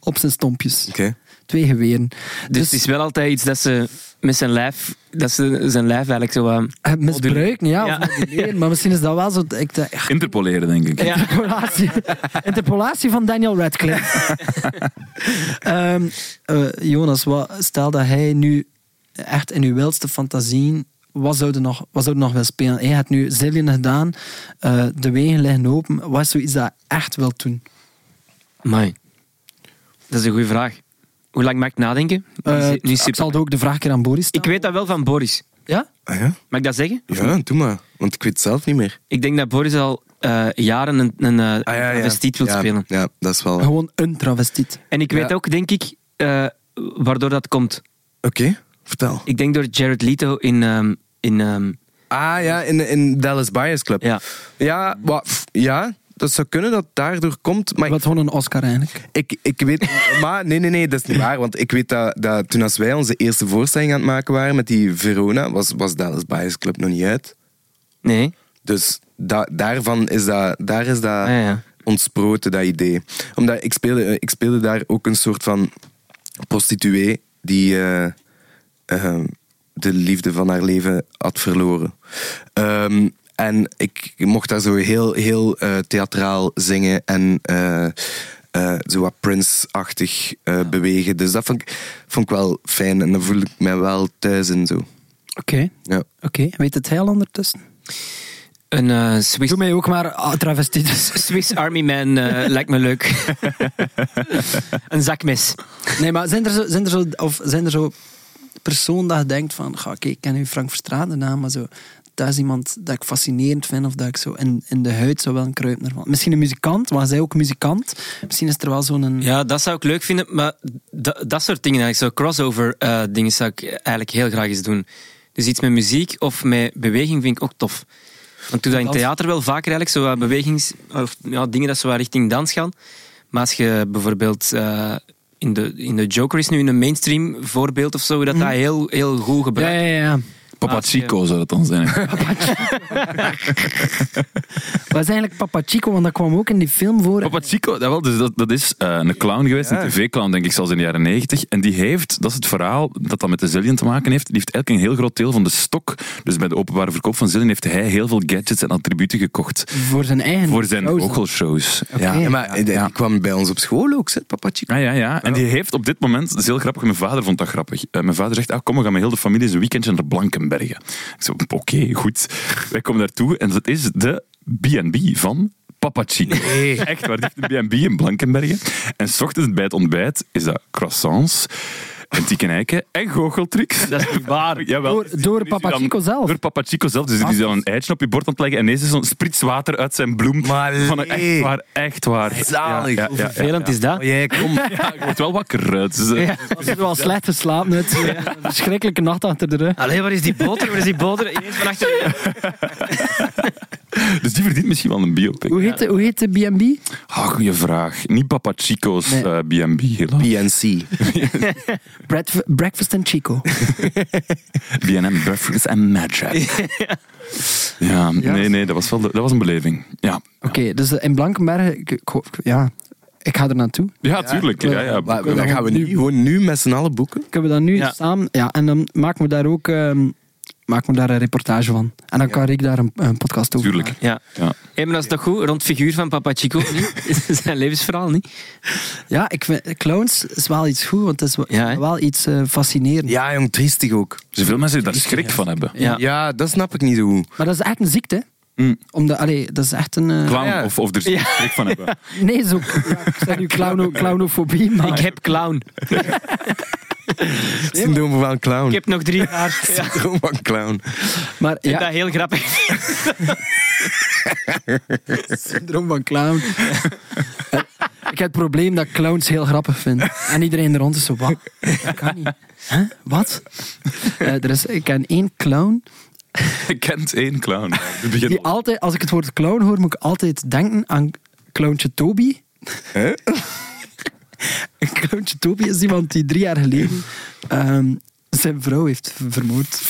op zijn stompjes.
Oké.
Twee geweren.
Dus, het is wel altijd iets dat ze met zijn lijf, dat ze zijn lijf eigenlijk zo... eh,
eh, misbruiken, ja,
Ja.
of moduleren. Maar misschien is dat wel zo. Ik, eh, denk,
Interpoleren, denk ik.
ja.
Interpolatie. Interpolatie van Daniel Radcliffe. Ehm, eh, Jonas, wat, stel dat hij nu echt in uw wildste fantasieën. Wat zou er nog, wat zou er nog wel spelen? Hij hebt nu zillion gedaan, eh, de wegen liggen open. Wat is zoiets dat je echt wil doen?
Amai. Dat is een goede vraag. Hoe lang mag ik nadenken?
Eh,
Nu is-
ik zal ook de vraag een keer aan Boris
ik
stellen.
weet dat wel van Boris.
Ja?
Ah, ja?
Mag ik dat zeggen?
ja, doe maar. Want ik weet het zelf niet meer.
Ik denk dat Boris al eh, jaren een, een eh, travestiet wil
Ah Ja,
spelen.
Ja, dat is wel...
Oh.
Oké.
Gewoon een travestiet.
En ik weet
Ja.
ook, denk ik, eh, waardoor dat komt.
Vertel.
Ik denk door Jared Leto in, ehm, in ehm,
Ah ja, in, in Dallas Buyers Club.
Ja.
Ja, wa- pff, ja, dat zou kunnen dat het daardoor komt. Maar
Wat gewoon een Oscar eigenlijk.
ik, ik weet... maar nee, nee, nee, dat is niet waar. Want ik weet dat, dat toen als wij onze eerste voorstelling aan het maken waren met die Verona, was, was Dallas Buyers Club nog niet uit.
Nee.
Dus da- daarvan is dat, daar is dat
Ah, ja.
ontsproten, dat idee. Omdat ik speelde, eh, ik speelde daar ook een soort van prostituee die eh, eh, de liefde van haar leven had verloren. Ehm, en ik mocht daar zo heel, heel eh, theatraal zingen en eh, eh, zo wat Prince-achtig eh, bewegen. Dus dat vond ik, vond ik wel fijn en dan voel ik mij wel thuis en zo.
Oké.
Ja.
Oké, weet het heel ondertussen?
Een eh, Swiss,
Doe mij ook maar ah, travestiet.
Swiss Army Man eh, lijkt me leuk. een zakmes.
Nee, maar zijn er zo, zijn er zo, of zijn er zo persoon dat je denkt van, ga, oké, ik ken nu Frank Verstraeten naam, maar zo, dat is iemand dat ik fascinerend vind of dat ik zo in, in de huid zou wel een kruip naar van. Misschien een muzikant, maar zij ook muzikant. Misschien is er wel zo'n... een
Ja, dat zou ik leuk vinden, maar da- dat soort dingen eigenlijk, zo crossover eh, dingen zou ik eigenlijk heel graag eens doen. Dus iets met muziek of met beweging vind ik ook tof. Want ik doe dat in
Dans.
theater wel vaker eigenlijk, zo wat bewegings, of ja, dingen dat zo wat richting dans gaan. Maar als je bijvoorbeeld eh, in, de, in de Joker is nu een mainstream voorbeeld of zo, dat dat heel, heel goed gebruikt
ja, ja.
Papa Chico zou dat dan zijn.
Wat is eigenlijk Papa Chico, want dat kwam ook in die film voor.
Papa Chico, dat, wel, dus dat, dat is eh, een clown geweest,
Ja.
een tv-clown denk ik, zelfs in de jaren 90. En die heeft, dat is het verhaal dat dat met de Zillion te maken heeft, die heeft eigenlijk een heel groot deel van de stok. Dus bij de openbare verkoop van Zillion heeft hij heel veel gadgets en attributen gekocht.
voor zijn eigen...
Voor zijn
shows.
vocalshows. Ja.
Ja, maar die kwam bij ons op school ook, zit Papa Chico.
Ja, ja, ja. En die heeft op dit moment, dat is heel grappig, mijn vader vond dat grappig. Eh, mijn vader zegt, ah, kom, we gaan met heel de familie eens een weekendje naar Blankenbergen. Ik zo, oké, goed. Wij komen daartoe en dat is de B&B van Papa Chico. Echt waar, die heeft een B&B in Blankenbergen. En s ochtends bij het ontbijt is dat croissants, antieke eiken en goocheltrucs.
Dat is niet waar.
Jawel.
Door- door
Is die
Papa
dan-
Chico zelf?
Door Papa Chico zelf. Dus die is dan een eitje op je bord aan het leggen en ineens is zo'n sprits water uit zijn bloem.
Maar
Van een-
nee.
echt waar, echt waar.
Zalig.
Ja, ja, ja, ja.
Vervelend is dat.
Oh, jij komt.
Ik word wel wakker. eh, Het is, eh,
Als je wel slecht geslapen hebt. Een verschrikkelijke nacht achter de rug.
Allee, waar is die boter? Waar is die boter? Ineens van achter.
Dus die verdient misschien wel een biopic.
Hoe heet, de- hoe heet de B&B?
Ah, goeie vraag. Niet Papa Chico's
Nee.
eh, B&B, helaas.
PNC.
Breakf- Breakfast and Chico.
B&M Breakfast and Magic. ja, nee, nee, dat was, wel de- dat was een beleving. Ja,
Oké, dus in Blankenbergen, ik, ik, ik- ja, ik ga er naartoe.
ja tuurlijk. Ja, ja,
Maar
boeken.
dan gaan we nu, gewoon nu met z'n allen boeken.
Kunnen we dat nu
Ja.
samen? Ja, en dan maken we daar ook ehm, maken we daar een reportage van. En dan kan ik daar een, een podcast over
Tuurlijk.
maken.
Ja.
Ja.
Hé, maar dat is toch goed? Rond figuur van Papa Chico, niet? Zijn levensverhaal, niet?
Ja, ik vind, clowns is wel iets goed, want het is wel,
Ja, hè?
wel iets eh fascinerends.
Ja, jong, triestig ook.
Dus veel mensen die daar schrik van hebben.
Ja.
Ja, dat snap ik niet zo goed.
Maar dat is echt een ziekte.
Mm.
Om de, allee, dat is echt een... eh,
Clown,
Ja.
Of, of er schrik van hebben.
Nee, zo, ja, ik zeg nu clowno, clownofobie, maar...
Ik heb clown.
Syndroom van clown.
Ik heb nog drie jaar. Ja.
Syndroom van clown.
maar
Ik vind
ja,
dat heel grappig.
syndroom van clown. Eh, ik heb het probleem dat ik clowns heel grappig vind. En iedereen er rond is zo, wat? Dat kan niet. Huh? Wat? Eh, er is, ik ken één clown
Je kent één clown. Het begint
Die
al.
altijd, als ik het woord clown hoor, moet ik altijd denken aan clowntje Toby. Een clowntje Toby is iemand die drie jaar geleden ehm, zijn vrouw heeft vermoord.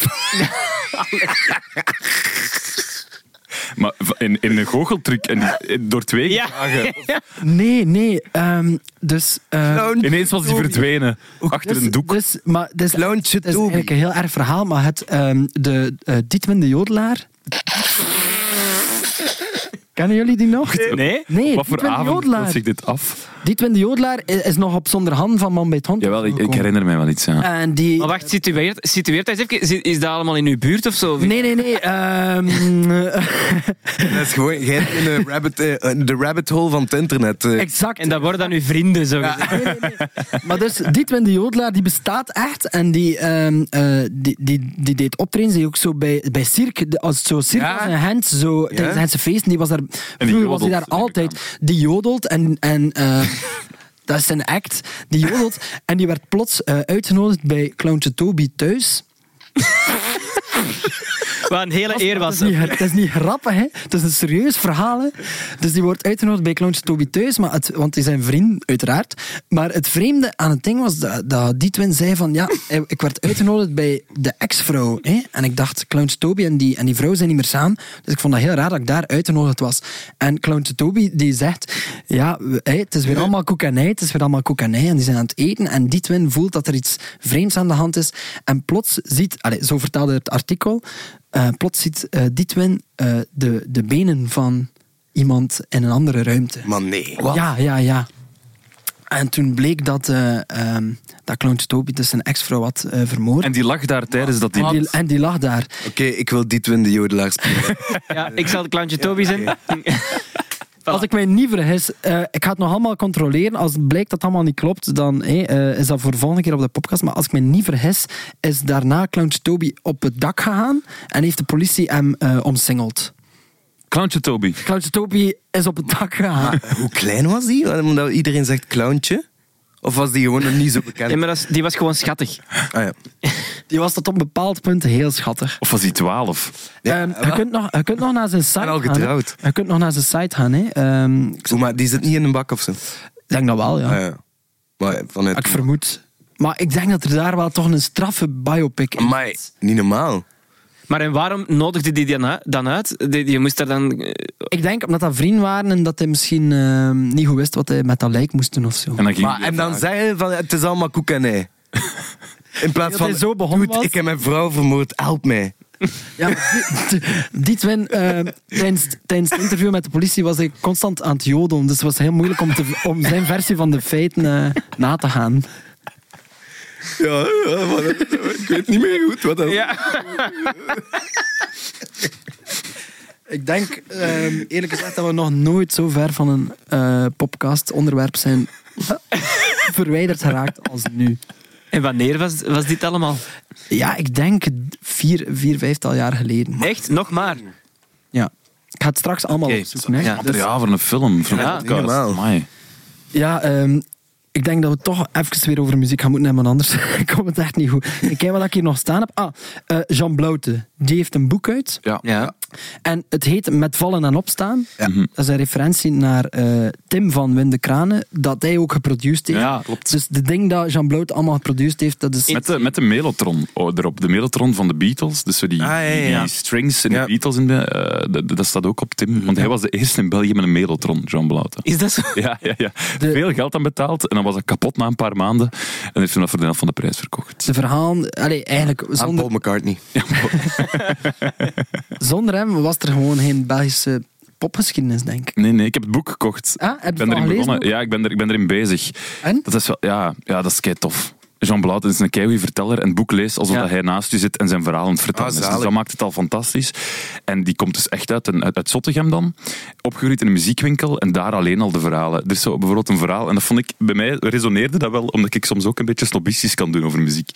Maar in, in een goocheltruc en die- in- door twee
Ja.
dagen.
Nee, nee. ehm, dus... eh,
Ineens was hij verdwenen. Achter
dus-
een doek.
Dus, maar, dus,
Clowntje
het is
Toby.
eigenlijk een heel erg verhaal, maar het, ehm, de eh Dietwin de Jodelaar... Kennen jullie die nog?
Nee?
Nee,
Wat voor
Dietwin de
avond
Jodelaar.
speelt zich dit af?
Dietwin de Jodelaar is, is nog op zonder hand van Man bij het Hond.
Jawel, ik, ik
gekomen.
herinner mij wel iets. Ja.
En die...
Maar wacht, situeert, situeert hij eens even. Zit- Is dat allemaal in uw buurt of zo?
Nee, nee, nee. ehm,
Dat is gewoon, jij hebt in de rabbit, eh, de rabbit hole van het internet. eh.
exact.
En dat worden dan uw vrienden, zo gezegd.
Nee, nee, nee. Maar dus, Dietwin de Jodelaar, die bestaat echt. En die, ehm, eh, die, die, die deed optreden. Die ook zo bij, bij Cirque, de- als zo Cirque
Ja.
was in Gent, zo, tijdens de Gentse feesten. Die was daar, vroeger was hij
jodelt,
daar
neem ik
altijd. Die jodelt en... en eh, Dat is zijn act. Die jodelt. En die werd plots eh, uitgenodigd bij Clowntje Toby thuis.
Wat een hele eer was.
Het is niet, het is niet grappig, hè. Het is een serieus verhaal, hè. Dus die wordt uitgenodigd bij Clown's Toby Thuis, maar het, want die zijn vriend, uiteraard. Maar het vreemde aan het ding was dat, dat die twin zei van... Ja, ik werd uitgenodigd bij de ex-vrouw, hè. En ik dacht, Clown's Toby en die, en die vrouw zijn niet meer samen. Dus ik vond dat heel raar dat ik daar uitgenodigd was. En Clown's Toby, die zegt... Ja, we- hè, het is weer allemaal koek en ei, het is weer allemaal koek en ei. En die zijn aan het eten en die twin voelt dat er iets vreemds aan de hand is. En plots ziet... Allez, zo vertaalde het artikel... Eh, plots ziet eh, die twin eh, de, de benen van iemand in een andere ruimte.
Maar nee.
Ja, ja, ja. En toen bleek dat, eh ehm dat Clown Toby dus zijn ex-vrouw had eh, vermoord.
En die lag daar tijdens dat die...
En die, en die lag daar.
Oké, ik wil die twin de jodelaar spelen.
Ja, ik zal het klantje Toby zijn.
Als ik mij niet vergis, eh, ik ga het nog allemaal controleren. Als het blijkt dat het allemaal niet klopt, dan hé, eh, is dat voor de volgende keer op de podcast. Maar als ik mij niet vergis, is daarna Clown Toby op het dak gegaan en heeft de politie hem eh, omsingeld.
Clowntje Toby.
Clown Toby is op het dak gegaan.
Hoe klein was die? Omdat iedereen zegt clowntje. Of was die gewoon nog niet zo bekend?
Ja, maar dat is- die was gewoon schattig.
Ah, ja.
Die was tot op een bepaald punt heel schattig.
Of was hij 12?
Ja,
Ehm, je, kunt nog, je kunt nog naar zijn site
Eh, al
gaan, hè.
getrouwd.
Je kunt nog naar zijn site gaan. Hè. Ehm, ik
Hoe, maar die zit niet in een bak of zo.
denk dat wel, ja.
Ah, ja. Maar vanuit...
Ik vermoed. Maar ik denk dat er daar wel toch een straffe biopic in
Amai,
zit.
niet normaal.
Maar en waarom nodigde die dan u- dan uit? Die, die moest daar dan... eh,
Ik denk omdat dat vrienden waren en dat hij misschien ehm, niet goed wist wat hij met dat lijk moest doen of zo.
En dan ging
Maar, eh, en dan zeggen van het is allemaal koek en ei. In plaats
Dat
van,
hij zo begonnen
"Dude,
was."
ik heb mijn vrouw vermoord, help mij.
Ja, die, die twin, eh, tijdens, tijdens het interview met de politie was hij constant aan het jodelen. Dus het was heel moeilijk om, te, om zijn versie van de feiten eh, na te gaan.
Ja, ja, maar dat- ik weet niet meer goed wat dat
Ja.
Ik denk, ehm, eerlijk gezegd, dat we nog nooit zo ver van een eh podcast-onderwerp zijn verwijderd geraakt als nu.
En wanneer was, was dit allemaal?
Ja, ik denk vier, vier vijftal jaar geleden.
Echt? Nog maar?
Ja. Ik ga het straks allemaal opzoeken. Hè.
Ja.
Dus-
Materiaal voor een film, voor een
Ja,
podcast.
niet normaal.
Amai.
ja ehm, ik denk dat we toch even weer over muziek gaan moeten hebben, want anders komt het echt niet goed. Ik kijk wat ik hier nog staan heb. Ah, eh, Jean Blouten. Die heeft een boek uit.
Ja.
Ja.
En het heet Met vallen en opstaan.
Mhm.
Dat is een referentie naar eh, Tim van Windekranen, dat hij ook geproduceerd heeft.
Ja, klopt.
Dus de ding dat Jean Blout allemaal geproduceerd heeft, dat is...
Met de, met de Melotron oh, erop. De Melotron van de Beatles. Dus zo die,
Ah, ja, ja,
die-
ja.
die strings en
Ja.
de Beatles. In de, eh, d- d- dat staat ook op Tim. Want hij was de eerste in België met een Melotron, John Blauten.
Is dat zo?
Ja, ja, ja.
De-
Veel geld aan betaald. En dan was dat kapot na een paar maanden. En heeft toen dat voor de helft van de prijs verkocht.
De verhalen... Allee, eigenlijk,
Aan
zonder,
Paul McCartney.
zonder hem was er gewoon geen Belgische popgeschiedenis, denk ik.
Nee, nee, ik heb het boek gekocht.
Ah, heb je het
ik ben
al
erin
gelezen
begonnen.
ook?
Ja, ik ben, er, ik ben erin bezig.
En?
Dat is wel, ja, ja dat is kei tof. Jean Blauten is een keigoeie verteller en het boek leest alsof
Ja.
dat hij naast je zit en zijn verhaal aan het vertellen
Ah,
is. Dus
zalig.
dat maakt het al fantastisch. En die komt dus echt uit, een, uit, uit Zottegem dan. Opgegroeid in een muziekwinkel en daar alleen al de verhalen. Er is zo bijvoorbeeld een verhaal en dat vond ik, bij mij resoneerde dat wel, omdat ik soms ook een beetje snobistisch kan doen over muziek.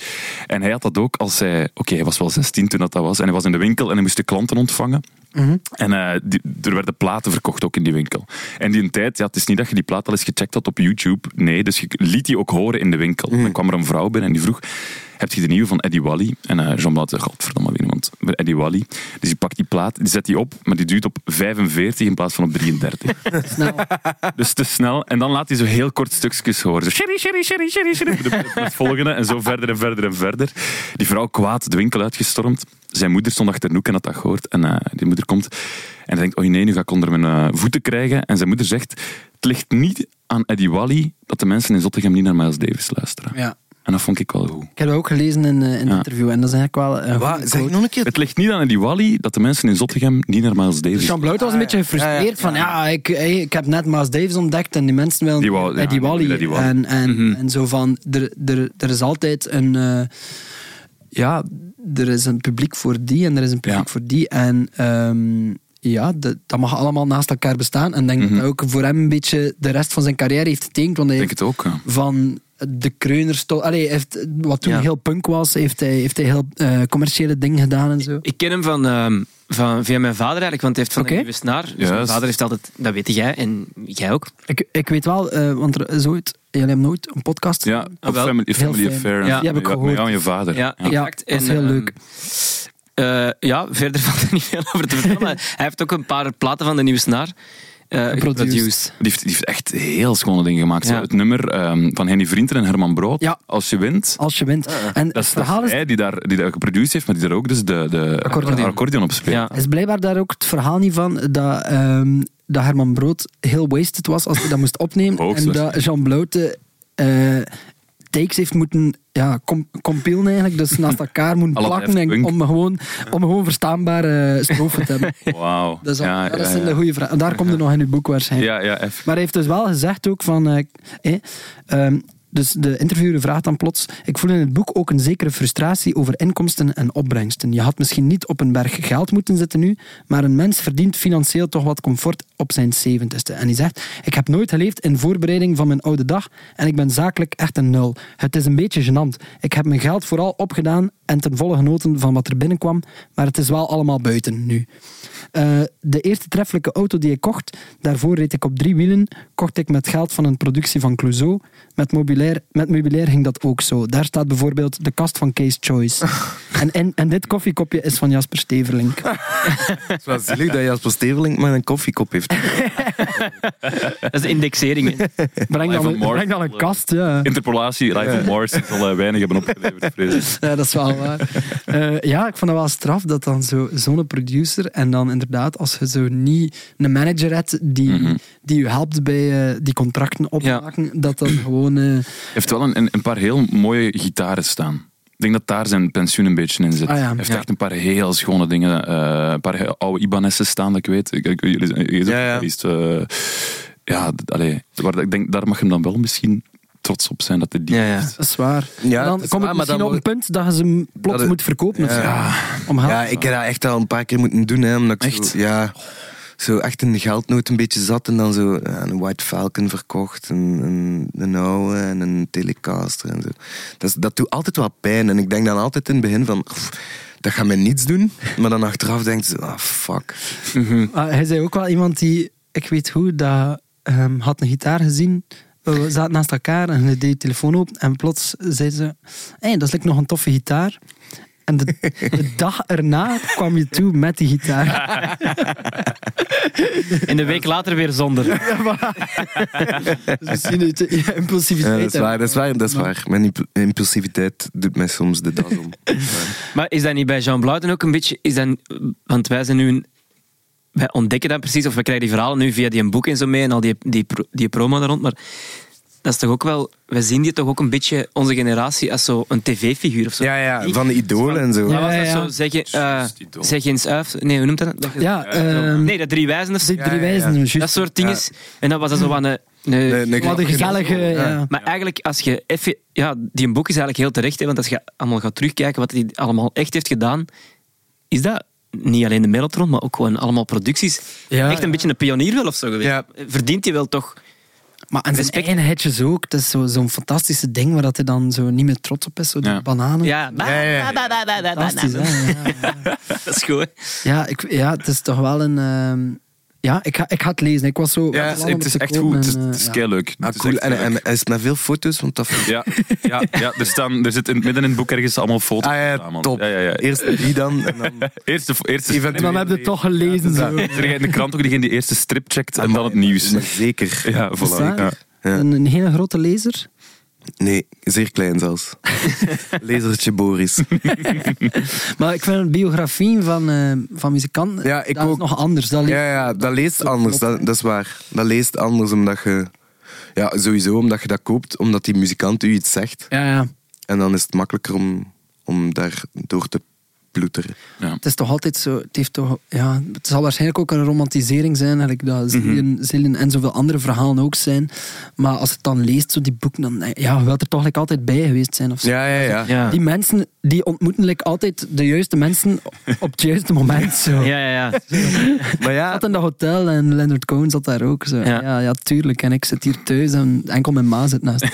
En hij had dat ook als hij, oké, hij was wel 16 toen dat, dat was en hij was in de winkel en hij moest de klanten ontvangen. En eh, die- er werden platen verkocht ook in die winkel. En die een tijd, ja, het is niet dat je die plaat al eens gecheckt had op YouTube. Nee, dus je liet die ook horen in de winkel. Dan kwam er een vrouw binnen en die vroeg: Heb je de nieuwe van Eddie Wally? En eh Jean Blaat zegt: Godverdomme weer, want Eddie Wally. Dus die pakt die plaat, die zet die op, maar die duwt op 45 in plaats van op 33.
Snel.
Dus te snel. En dan laat hij zo heel kort stukjes horen. Zo, sherry, sherry, sherry, sherry, sherry. De, de volgende. En zo verder en verder en verder. Die vrouw kwaad, de winkel uitgestormd. Zijn moeder stond achter de hoek en had dat gehoord. En eh, die moeder komt en denkt, oh nee, nu ga ik onder mijn eh, voeten krijgen. En zijn moeder zegt, het ligt niet aan Eddie Wally dat de mensen in Zottegem niet naar Miles Davis luisteren.
Ja.
En dat vond ik wel goed.
Ik heb dat ook gelezen in, eh, in het
Ja.
interview. En dat is eigenlijk wel... een
Wat?
goede
Zeg
quote.
nog een keer.
Het ligt niet aan Eddie Wally dat de mensen in Zottegem niet naar Miles Davis
Jean Dus Blout was een beetje gefrustreerd
Ah,
van ja, ik, hey, ik heb net Maas Davis ontdekt en die mensen willen
Die wou- ja,
Eddie
die
Wally.
willen Eddie Wally.
En,
Mhm.
en, en zo van, er, er, er is altijd een... eh, ja, er is een publiek voor die en er is een publiek
Ja.
voor die. En ehm, ja, de- dat mag allemaal naast elkaar bestaan. En ik denk dat ook voor hem een beetje de rest van zijn carrière heeft getekend. Want hij
Ik Mhm. denk het
heeft
ook, ja.
van de kreuners tot... Allee, hij heeft, wat toen
Ja.
heel punk was, heeft hij, heeft hij heel eh, commerciële dingen gedaan en zo.
Ik ken hem van, ehm, van, via mijn vader eigenlijk, want hij heeft van
Oké.
een nieuwe snaar. Dus mijn
Juist.
vader heeft altijd... Dat weet jij en jij ook.
Ik, ik weet wel, eh, want er is ooit, jullie hebben nooit een podcast.
Ja,
Ah,
op
wel.
Family,
Heel
family
fijn.
Affair.
Ja,
en
die heb ik
met- met
gehoord.
jou en je vader.
Ja,
Ja,
exact.
dat is
En,
heel
ehm,
leuk.
Eh, ja, verder valt er niet veel over te vertellen. maar hij heeft ook een paar platen van de nieuwe snaar eh, geproduced.
Die heeft, die heeft echt heel schone dingen gemaakt.
Ja.
Zo, Het nummer ehm, van Henny Vrienden en Herman Brood,
Ja.
Als je wint.
Als je wint. en
Dat
het
is, dat is
verhaal is,
hij die daar, die daar geproduceerd heeft, maar die daar ook dus de, de
Accordeon.
accordeon op speelt.
Ja.
is blijkbaar daar ook het verhaal niet van dat, ehm, dat Herman Brood heel wasted was als hij dat moest opnemen.
Hoogst
en dat Jean Bloute eh, takes heeft moeten ja, com compilen eigenlijk. Dus naast elkaar moeten
Alle
plakken
Daft
en,
Punk.
om gewoon, om gewoon verstaanbare eh, strofen te hebben. Dus
Wauw.
Dat, is al-
ja,
dat
ja,
zijn
ja.
de goede vragen. Daar komt er nog in uw boek waarschijnlijk.
Ja, ja, even.
Maar hij heeft dus wel gezegd ook van... eh, eh, ehm, dus de interviewer vraagt dan plots... Ik voel in het boek ook een zekere frustratie over inkomsten en opbrengsten. Je had misschien niet op een berg geld moeten zitten nu, maar een mens verdient financieel toch wat comfort op zijn zeventigste. En hij zegt... Ik heb nooit geleefd in voorbereiding van mijn oude dag en ik ben zakelijk echt een nul. Het is een beetje gênant. Ik heb mijn geld vooral opgedaan en ten volle genoten van wat er binnenkwam, maar het is wel allemaal buiten nu. Eh, de eerste treffelijke auto die ik kocht, daarvoor reed ik op drie wielen, kocht ik met geld van een productie van Clouseau. Met meubilair, met meubilair ging dat ook zo. Daar staat bijvoorbeeld de kast van Case Choice. en, en, en dit koffiekopje is van Jasper Steverlink.
Het is wel zielig dat Jasper Steverling maar een koffiekop heeft.
Dat is de indexering. hè.
Breng dan,
Ivan
een-
Mark.
breng dan een kast, ja.
Interpolatie, Life of Mars, die zal eh, weinig hebben opgeleverd, vrees ik.
Ja, dat is wel waar. Eh, ja, ik vond dat wel straf dat dan zo- zo'n producer en dan inderdaad als je zo niet een manager hebt die, die je helpt bij eh, die contracten opmaken, dat dan gewoon... eh,
heeft wel een, een, een paar heel mooie gitaren staan. Ik denk dat daar zijn pensioen een beetje in zit.
Ah ja,
Hij heeft
ja.
echt een paar heel schone dingen. eh, een paar heel oude Ibanessen staan, dat ik weet. Ik, ik, jullie zijn- jullie zijn
Ja,
ook
ja.
geweest, eh, ja, d- allee, waar, ik denk, daar mag hem dan wel misschien trots op zijn dat hij die
Ja, ja.
heeft.
Dat is waar.
Ja,
Maar dan
dat is
kom ik
waar, maar
misschien
dan
op een punt dat je ze hem plots
Dat het-
moet verkopen. of zo. Om geld.
Ja, ik heb dat echt al een paar keer moeten doen. Hè, omdat ik
Echt?
Zo, ja, zo echt in de geldnood een beetje zat. En dan zo ja, een White Falcon verkocht. En, en een oude en een Telecaster. En zo. Dat, is- dat doet altijd wel pijn. En ik denk dan altijd in het begin van... "Pff, Dat gaat mij niets doen. Maar dan achteraf denkt ze... Ah, fuck.
Ah, hij zei ook wel iemand die, ik weet hoe, dat ehm, had een gitaar gezien. We zaten naast elkaar en hij deed de telefoon open. En plots zei ze: Hé, dat is like nog een toffe gitaar. En de, de dag erna kwam je toe met die gitaar.
En de week later weer zonder.
Dus misschien uit de ja, impulsiviteit.
Ja, dat is
hè.
waar, dat is waar, dat is
Maar-
waar. Mijn imp- impulsiviteit doet mij soms de das om.
Maar is dat niet bij Jean Bluiten ook een beetje... Is dat, want wij zijn nu... Een, wij ontdekken dat precies, of we krijgen die verhalen nu via die boek en zo mee en al die, die, pro- die promo daar rond, maar dat is toch ook wel... Wij zien die toch ook een beetje, onze generatie, als zo'n tv-figuur of zo.
Ja, ja, van de idolen en zo.
Maar was
Ja,
dat
ja.
zo? Zeg, je, eh,
Juist, die dom.
zeg eens uit. Nee, hoe noemt dat? dat je-
Ja, ehm,
nee, dat drie wijzen of zo.
die drie
ja, ja.
wijzen. juist.
Dat soort dingen.
Ja.
En dat was dan zo van... eh, nee.
Nee, nee,
Wat een gezellige. ja.
Maar eigenlijk, als je effe- Ja, die boek is eigenlijk heel terecht, hè, want als je allemaal gaat terugkijken wat hij allemaal echt heeft gedaan, is dat niet alleen de Mellotron, maar ook gewoon allemaal producties.
Ja,
echt een
ja.
beetje een pionier wel of zo geweest.
Ja.
Verdient hij wel toch...
Maar en zijn
Respect.
eigen hitjes ook. Dat is zo- zo'n fantastische ding waar dat hij dan zo niet meer trots op is. Zo die
Ja.
bananen.
Ja, ba-
Ja, ja, ja.
ba- ba- ba- ba- ba-
Fantastisch,
ba-
hè? Ja.
Dat is goed, hè.
Ja, ik, ja, het is toch wel een. ehm, ja, ik ga, ik ga het lezen. Ik was zo. ik
Ja,
was
het,
wel
is-
om
het is
te
echt
kopen
goed. Het
en,
is, het
eh,
is
ja.
keileuk.
Ah,
Het is
cool.
echt
En,
keileuk.
en, en is het met veel foto's? Want dat vind ik-
Ja, ja, ja er, staan, er zit in, midden in het boek ergens allemaal foto's.
Ah ja,
verzameld.
top.
Ja, ja, ja.
Eerst die dan. En dan...
Eerste, eerste
En dan heb je het toch gelezen. zo.
Is er in de krant ook degene die eerste strip checkt en dan het nieuws?
Maar Zeker.
Ja,
Is
voilà.
dat
Ja.
waar? Een, een hele grote lezer.
Nee, zeer klein zelfs. Lezertje Boris.
Maar ik vind biografieën van, eh, van muzikanten
Ja, ik
dat is
ook.
nog anders. Dat leest-
Ja, ja, dat leest anders. Dat, dat is waar. Dat leest anders omdat je... Ja, sowieso omdat je dat koopt, omdat die muzikant u iets zegt.
ja, ja.
En dan is het makkelijker om, om daar door te ploeteren.
Het is toch altijd zo. Het, heeft toch, ja, het zal waarschijnlijk ook een romantisering zijn. Eigenlijk,
Mhm.
dat Zillion, Zillion en zoveel andere verhalen ook zijn. Maar als het dan leest, zo die boeken, dan eh, ja, je wilt er toch like, altijd bij geweest zijn. Of zo.
Ja, ja, ja.
Ja.
Die mensen die ontmoeten like, altijd de juiste mensen op het juiste moment. Zo.
Ja, ja, ja.
Maar
Ik
ja,
zat in dat hotel en Leonard Cohen zat daar ook. Zo.
Ja.
Ja. Ja, tuurlijk. En ik zit hier thuis en enkel mijn ma zit naast. me.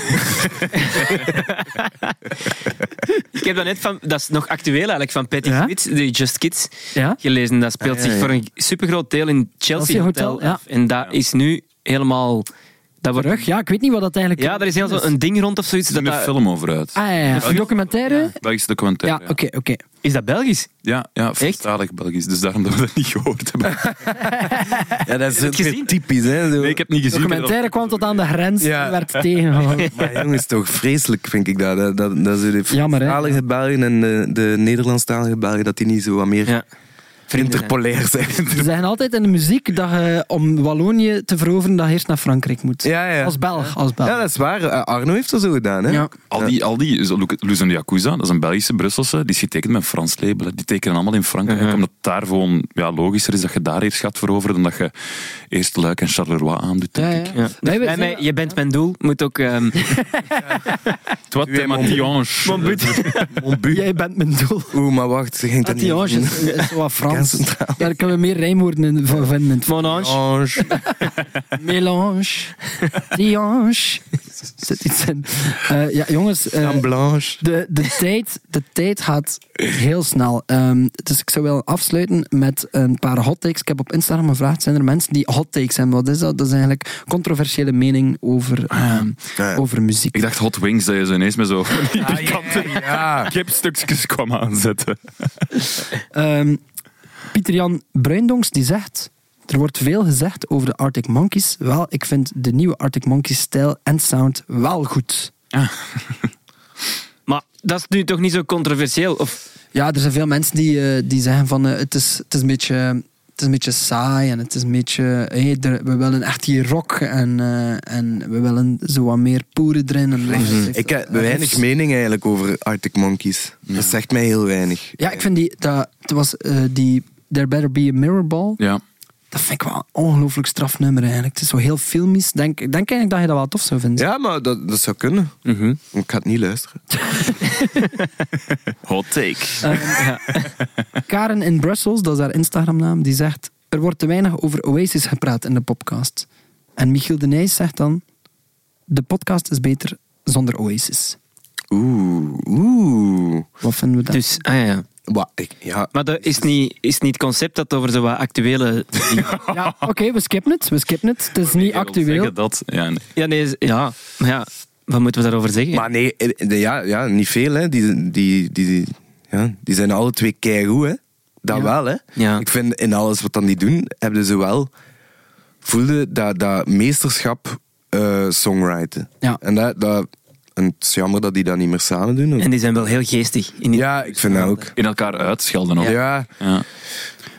Ik heb dat net van... Dat is nog actueel eigenlijk, van Patty
Ja?
Smith, de Just Kids.
Ja?
gelezen. Dat speelt
Ah, ja,
zich
ja.
voor een supergroot deel in het Chelsea,
Chelsea
Hotel.
Hotel, ja.
af. En dat is nu helemaal. Dat Dat wordt,
Terug, ja, ik weet niet wat dat eigenlijk
ja, daar is heel zo een ding rond of zoiets.
Er
Dat
is een
dat-
film over uit.
Ah ja, ja. Een documentaire?
Belgische
Ja,
documentaire.
oké, oké.
is dat Belgisch?
Ja, ja, Franstalig Belgisch. Dus daarom dat we dat niet gehoord hebben.
Ja, dat is
het
ook weer
gezien?
typisch. Hè, zo.
Nee, ik heb niet gezien.
Documentaire kwam tot aan de grens
Ja.
en werd tegengehouden.
Maar jongens, toch vreselijk vind ik dat. Dat, dat, dat zo de
Jammer, hè?
Franstalige Belgen en de, de Nederlandstalige Belgen, dat die niet zo wat meer
Ja.
interpolair zijn.
Ze zeggen altijd in de muziek dat je om Wallonië te veroveren, dat je eerst naar Frankrijk moet.
Ja, ja.
Als Belg, als Belg.
Ja, dat is waar. Eh, Arno heeft dat zo gedaan. Hè?
Ja.
Al die, al die zo, Lu- Luzon de Yakuza, dat is een Belgische Brusselse, die is getekend met een Frans label. hè. Die tekenen allemaal in Frankrijk,
Mhm.
omdat het daar gewoon ja, logischer is dat je daar eerst gaat veroveren dan dat je eerst Luik en Charleroi aandoet, denk ik.
Ja.
Wij- wij
Bij mij,
zijn-
je bent mijn doel. Moet ook, ehm,
Toi, t'es ma tianche.
Jij bent mijn doel.
Oeh, maar wacht, ze ging dat niet.
Atiange
doen.
is, is wat Frans.
Kerncentraal.
Daar kunnen we meer rijmwoorden in v- vinden. in het Frans.
Mon ange.
Ange.
Mélange. Tiange. Zit iets in. Eh, ja, jongens. eh,
Dame Blanche.
de, de, tijd, de tijd gaat heel snel. Ehm, dus ik zou wel afsluiten met een paar hot takes. Ik heb op Instagram gevraagd, zijn er mensen die hot takes hebben? Wat is dat? Dat is eigenlijk controversiële mening over, ehm,
Ah, ja.
over muziek.
Ik dacht Hot Wings, dat je zo ineens met zo pikante
Ja.
kipstukjes kwam aanzetten.
Ehm, Pieter-Jan Bruindonks die zegt... Er wordt veel gezegd over de Arctic Monkeys. Wel, ik vind de nieuwe Arctic Monkeys stijl en sound wel goed.
Maar dat is nu toch niet zo controversieel? Of,
Ja, er zijn veel mensen die, eh, die zeggen van... eh, het, is, het, is een beetje, het is een beetje saai en het is een beetje... hé, er- we willen echt hier rock en, eh, en we willen zo wat meer poeren erin. En
Mhm. Ik heb weinig mening eigenlijk over Arctic Monkeys. Dat zegt mij heel weinig.
Ja, ik vind die... Dat, het was eh, die... There Better Be a Mirror Ball.
Ja.
Dat vind ik wel een ongelooflijk straf nummer eigenlijk. Het is zo heel filmisch. Denk, ik denk eigenlijk dat je dat wel tof zou vinden.
Ja, maar dat, dat zou kunnen.
Mhm.
Ik ga het niet luisteren.
Hot take.
Karen in Brussels, dat is haar Instagramnaam, die zegt... Er wordt te weinig over Oasis gepraat in de podcast. En Michiel de Nijs zegt dan... De podcast is beter zonder Oasis.
Oeh, oeh.
Wat vinden we daar?
dus, ah, ja, ja.
Wat, ik, ja.
Maar dat is niet, is niet het concept dat over zo wat actuele.
Ja, oké, we skippen het. We skippen het. Het is niet actueel.
Zeggen dat. Ja, nee.
Ja, nee, is- ja, maar ja, wat moeten we daarover zeggen?
Maar nee, eh, de- ja, ja, niet veel. Hè. Die, die, die, die- ja, die zijn alle twee keigoed. Hè. Dat wel, hè.
Ja.
Ik vind in alles wat dan die doen, hebben ze wel... Voelde dat, dat meesterschap eh, songwriten.
Ja.
En, dat, dat, en het is jammer dat die dat niet meer samen doen.
En die zijn wel heel geestig. In die-
ja, ik vind dat ook.
In elkaar uitschelden ook.
Ja.
Ja.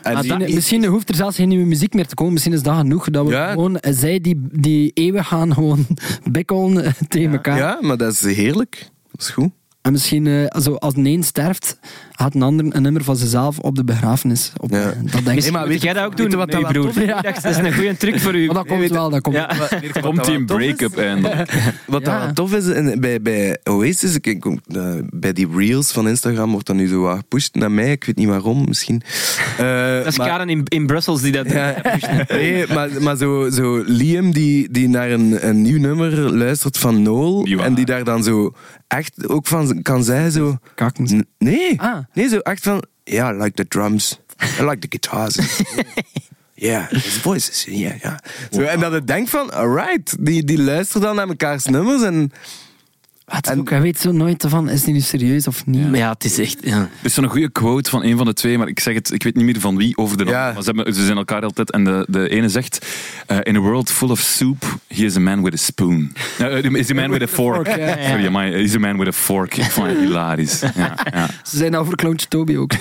En
Maar
die-
dan- misschien hoeft er zelfs geen nieuwe muziek meer te komen. Misschien is dat genoeg. Dat we
Ja.
gewoon... eh, Zij die, die eeuwen gaan gewoon bikkelen eh, tegen elkaar.
ja, maar dat is heerlijk. Dat is goed.
En misschien, eh, zo, als een sterft, had een ander een nummer van zichzelf op de begrafenis. Op, eh,
Ja.
Dat denk ik.
Misschien
maar
moet
weet-
jij dat ook
weet
doen
je wat
met
dat
je
wel
broer.
tof is? Ja.
Ik dacht, dat is een goede truc voor u.
Maar dat komt
weet-
wel, dat komt
Ja.
Komt die een break-up eindelijk?
Wat
Ja.
dat wel tof is en bij, bij Oasis, ik- ik- eh, bij die reels van Instagram wordt dat nu zo wat gepusht naar mij. Ik weet niet waarom, misschien. Eh,
Dat is Karen in, in Brussels die dat doet.
Ja, nee, maar, maar zo, zo Liam die, die naar een, een nieuw nummer luistert van Noel
Niet waar.
en die daar dan zo echt ook van kan zij zo...
Kakens.
N- Nee,
Ah.
nee, zo echt van... Ja, I like the drums. I like the guitars. Yeah, his voices. Yeah, yeah. Zo, en dat ik denk van, alright, die, die luisteren dan naar mekaars nummers en...
Wat ook, hij weet zo nooit van, is die nu serieus of niet?
Maar ja, het is echt. Ja.
Er is zo'n goede quote van een van de twee, maar ik zeg het, ik weet niet meer van wie over de
Ja.
ander. Maar ze, hebben, ze zijn elkaar altijd. En de, de ene zegt: eh, In a world full of soup, he is a man with a spoon. Eh, eh, is a man with a fork.
fork, ja, ja.
Sorry, amai, is a man with a fork. Ik vond het hilarisch. Ja, ja.
Ze zijn over Clowntje Toby ook.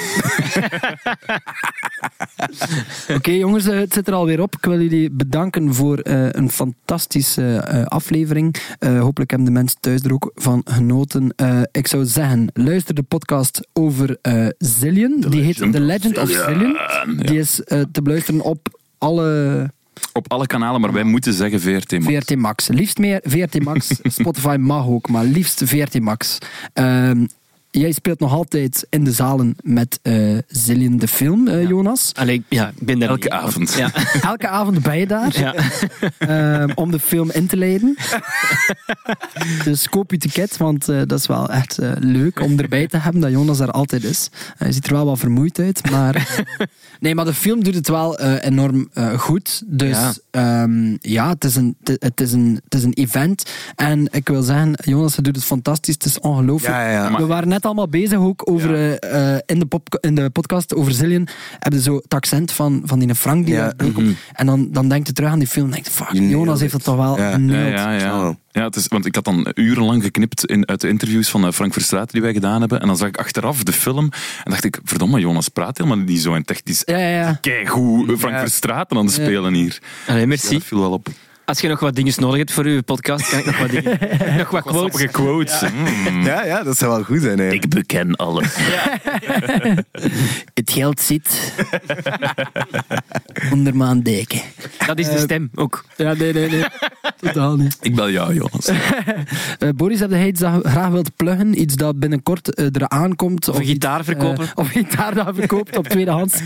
Oké jongens, eh, het zit er alweer op. Ik wil jullie bedanken voor eh, een fantastische eh, aflevering. Eh, hopelijk hebben de mensen thuis er ook van genoten. Eh, ik zou zeggen, luister de podcast over eh Zillion. Die heet
Legend
The
of
Legend of Zillion. Die is eh, te beluisteren op alle
Op alle kanalen, maar wij moeten zeggen VRT. man.
VRT Max. Liefst meer VRT Max. Spotify mag ook, maar liefst VRT Max. Ehm, jij speelt nog altijd in de zalen met eh Zillion de film, eh, Jonas.
Allee, ja, ik ben daar
Elke
niet.
avond.
Ja.
Elke avond ben je daar
Ja.
ehm, om de film in te leiden. dus koop je ticket, want eh, dat is wel echt eh, leuk om erbij te hebben dat Jonas daar altijd is. hij ziet er wel wat vermoeid uit, maar... eh, nee, maar de film doet het wel eh, enorm eh, goed. Dus
Ja.
ehm, ja, het is, een, het- het, is een, het is een event. En ik wil zeggen, Jonas, je doet het fantastisch. Het is ongelooflijk.
Ja, ja, ja.
We
Maar-
waren net allemaal bezig ook over, eh, eh, in, de pop, in de podcast over Zillion. Hebben ze zo het accent van, van die Frank die
Ja.
daar binnenkomt. En dan, dan denkt je terug aan die film en denkt, fuck,
Die nailed
Jonas heeft dat
it.
toch wel
Ja.
Ja,
nailed.
ja, ja.
Oh.
ja het is, want ik had dan urenlang geknipt in, uit de interviews van eh, Frank Verstraeten die wij gedaan hebben. En dan zag ik achteraf de film en dacht ik, verdomme, Jonas praat helemaal niet zo en technisch.
Ja, ja, ja.
Kijk hoe eh, Frank
Ja.
Verstraeten aan het
Ja.
spelen hier.
Allee,
Ja,
merci.
dat viel wel op.
Als je nog wat dinges nodig hebt voor uw podcast, kan ik nog wat dingen... nog wat quotes.
Grappige quotes. Mm.
Ja, ja, dat zou wel goed zijn. hè.
Ik beken alles.
Het geld zit onder mijn deken.
Dat is de
Eh,
stem ook.
Ja, nee, nee, nee. Totaal niet.
Ik bel jou, Jonas.
Eh, Boris, heb jij iets dat je graag wilt pluggen? Iets dat binnenkort eh, eraan komt?
Of een gitaar verkopen.
eh, of gitaar dat je verkoopt op tweedehands?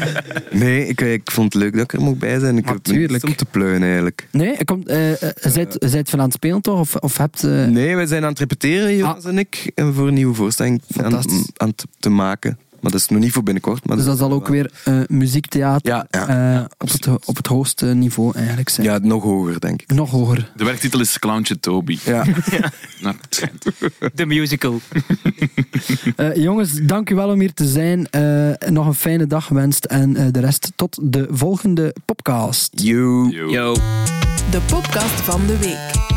Nee, ik, ik vond het leuk dat ik er mocht bij zijn. Ik heb
Natuurlijk.
niks om te pleuren eigenlijk.
Nee, er komt, eh, eh, zijt, zijt veel aan het spelen toch? Of, of hebt... eh,
Nee, wij zijn aan het repeteren, Jonas en ik, eh, voor een nieuwe voorstelling aan,
Ah. Fantastisch.
aan te, te maken. Maar dat is nog niet voor binnenkort. Maar
Dus dat zal ook weer eh, muziektheater
Ja, ja.
eh, op, het, op het hoogste niveau eigenlijk zijn.
Ja, nog hoger, denk ik.
Nog hoger.
De werktitel is Clowntje Toby.
Ja,
Nou, het schijnt.
De musical.
Eh, jongens, dank u wel om hier te zijn. Eh, nog een fijne dag gewenst en eh, de rest tot de volgende podcast.
you.
Yo.
Yo.
De podcast van de week.